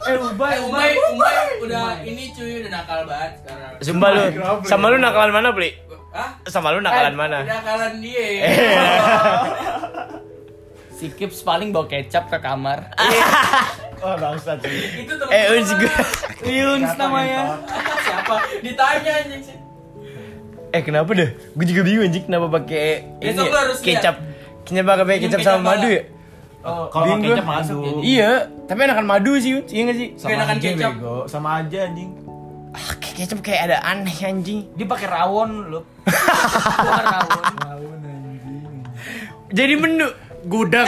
eh Ubay,
Eh, Umay, Umay udah ini cuy udah nakal banget sekarang.
Sumpah lu, sama lu nakalan mana, Pli?
Hah? Eh.
Sama lu nakalan mana?
Nakalan dia.
Si Kips paling bawa kecap ke kamar.
Oh,
Wah, bangsat sih.
Itu temen
Eh,
gua.
Uns juga.
Yunus namanya.
Siapa? Ditanya anjing sih.
Eh, kenapa deh? Gue juga bingung anjing kenapa pakai ini
Besok lu harus lihat.
kecap. Kenapa pakai kecap
kecap
sama madu
malah.
ya? Bingung gua. Iya, tapi enakan madu sih, Uns. Iya gak sih?
sama aja anjing.
Ah, kayak kecap kayak ada aneh anjing.
Dia pakai rawon lu.
Jadi menu gudeg.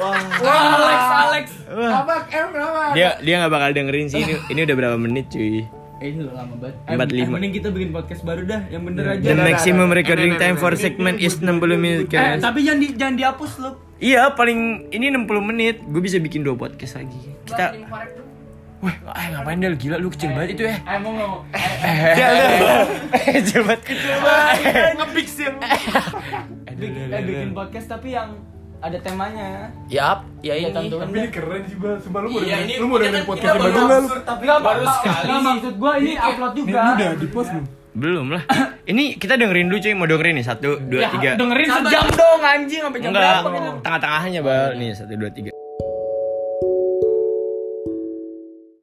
Wah, Alex, Alex.
Apa? Em kenapa?
dia dia nggak bakal dengerin sih ini. Ini udah berapa menit, cuy?
Eh, ini lama banget.
45.
Mending kita bikin podcast baru dah, yang bener aja.
The maximum recording time for segment is 60 minutes.
Eh,
guys.
tapi jangan di, jangan dihapus lu.
Eh,
Iya, paling ini 60 menit. Gue bisa bikin dua podcast lagi. Kita Wah, eh, ngapain Del? Gila lu kecil banget itu ya.
Eh, mau nggak mau?
Ya udah. Eh, coba kecil banget.
Ngebix ya. Eh, bikin podcast tapi yang ada temanya.
Yap, ya
Iya,
ini.
tentuin
Tapi ini keren sih, Bal. Sumpah lu mau
Iya,
dengerin-
ini
lu mau
kita
dengerin
kan-
podcast
kita
baru
baru
nggak lu?
absurd, tapi nggak Baru apa-apa. sekali. Nggak, maksud gua ini upload juga.
Ini udah di post belum?
Belum lah. Ini kita dengerin dulu cuy, mau dengerin nih. Satu,
Ya,
dua, tiga.
dengerin sejam dong anjing sampai jam
Enggak,
berapa kita
gitu?
tengah-tengahnya, Bal. Nih, satu, dua, tiga.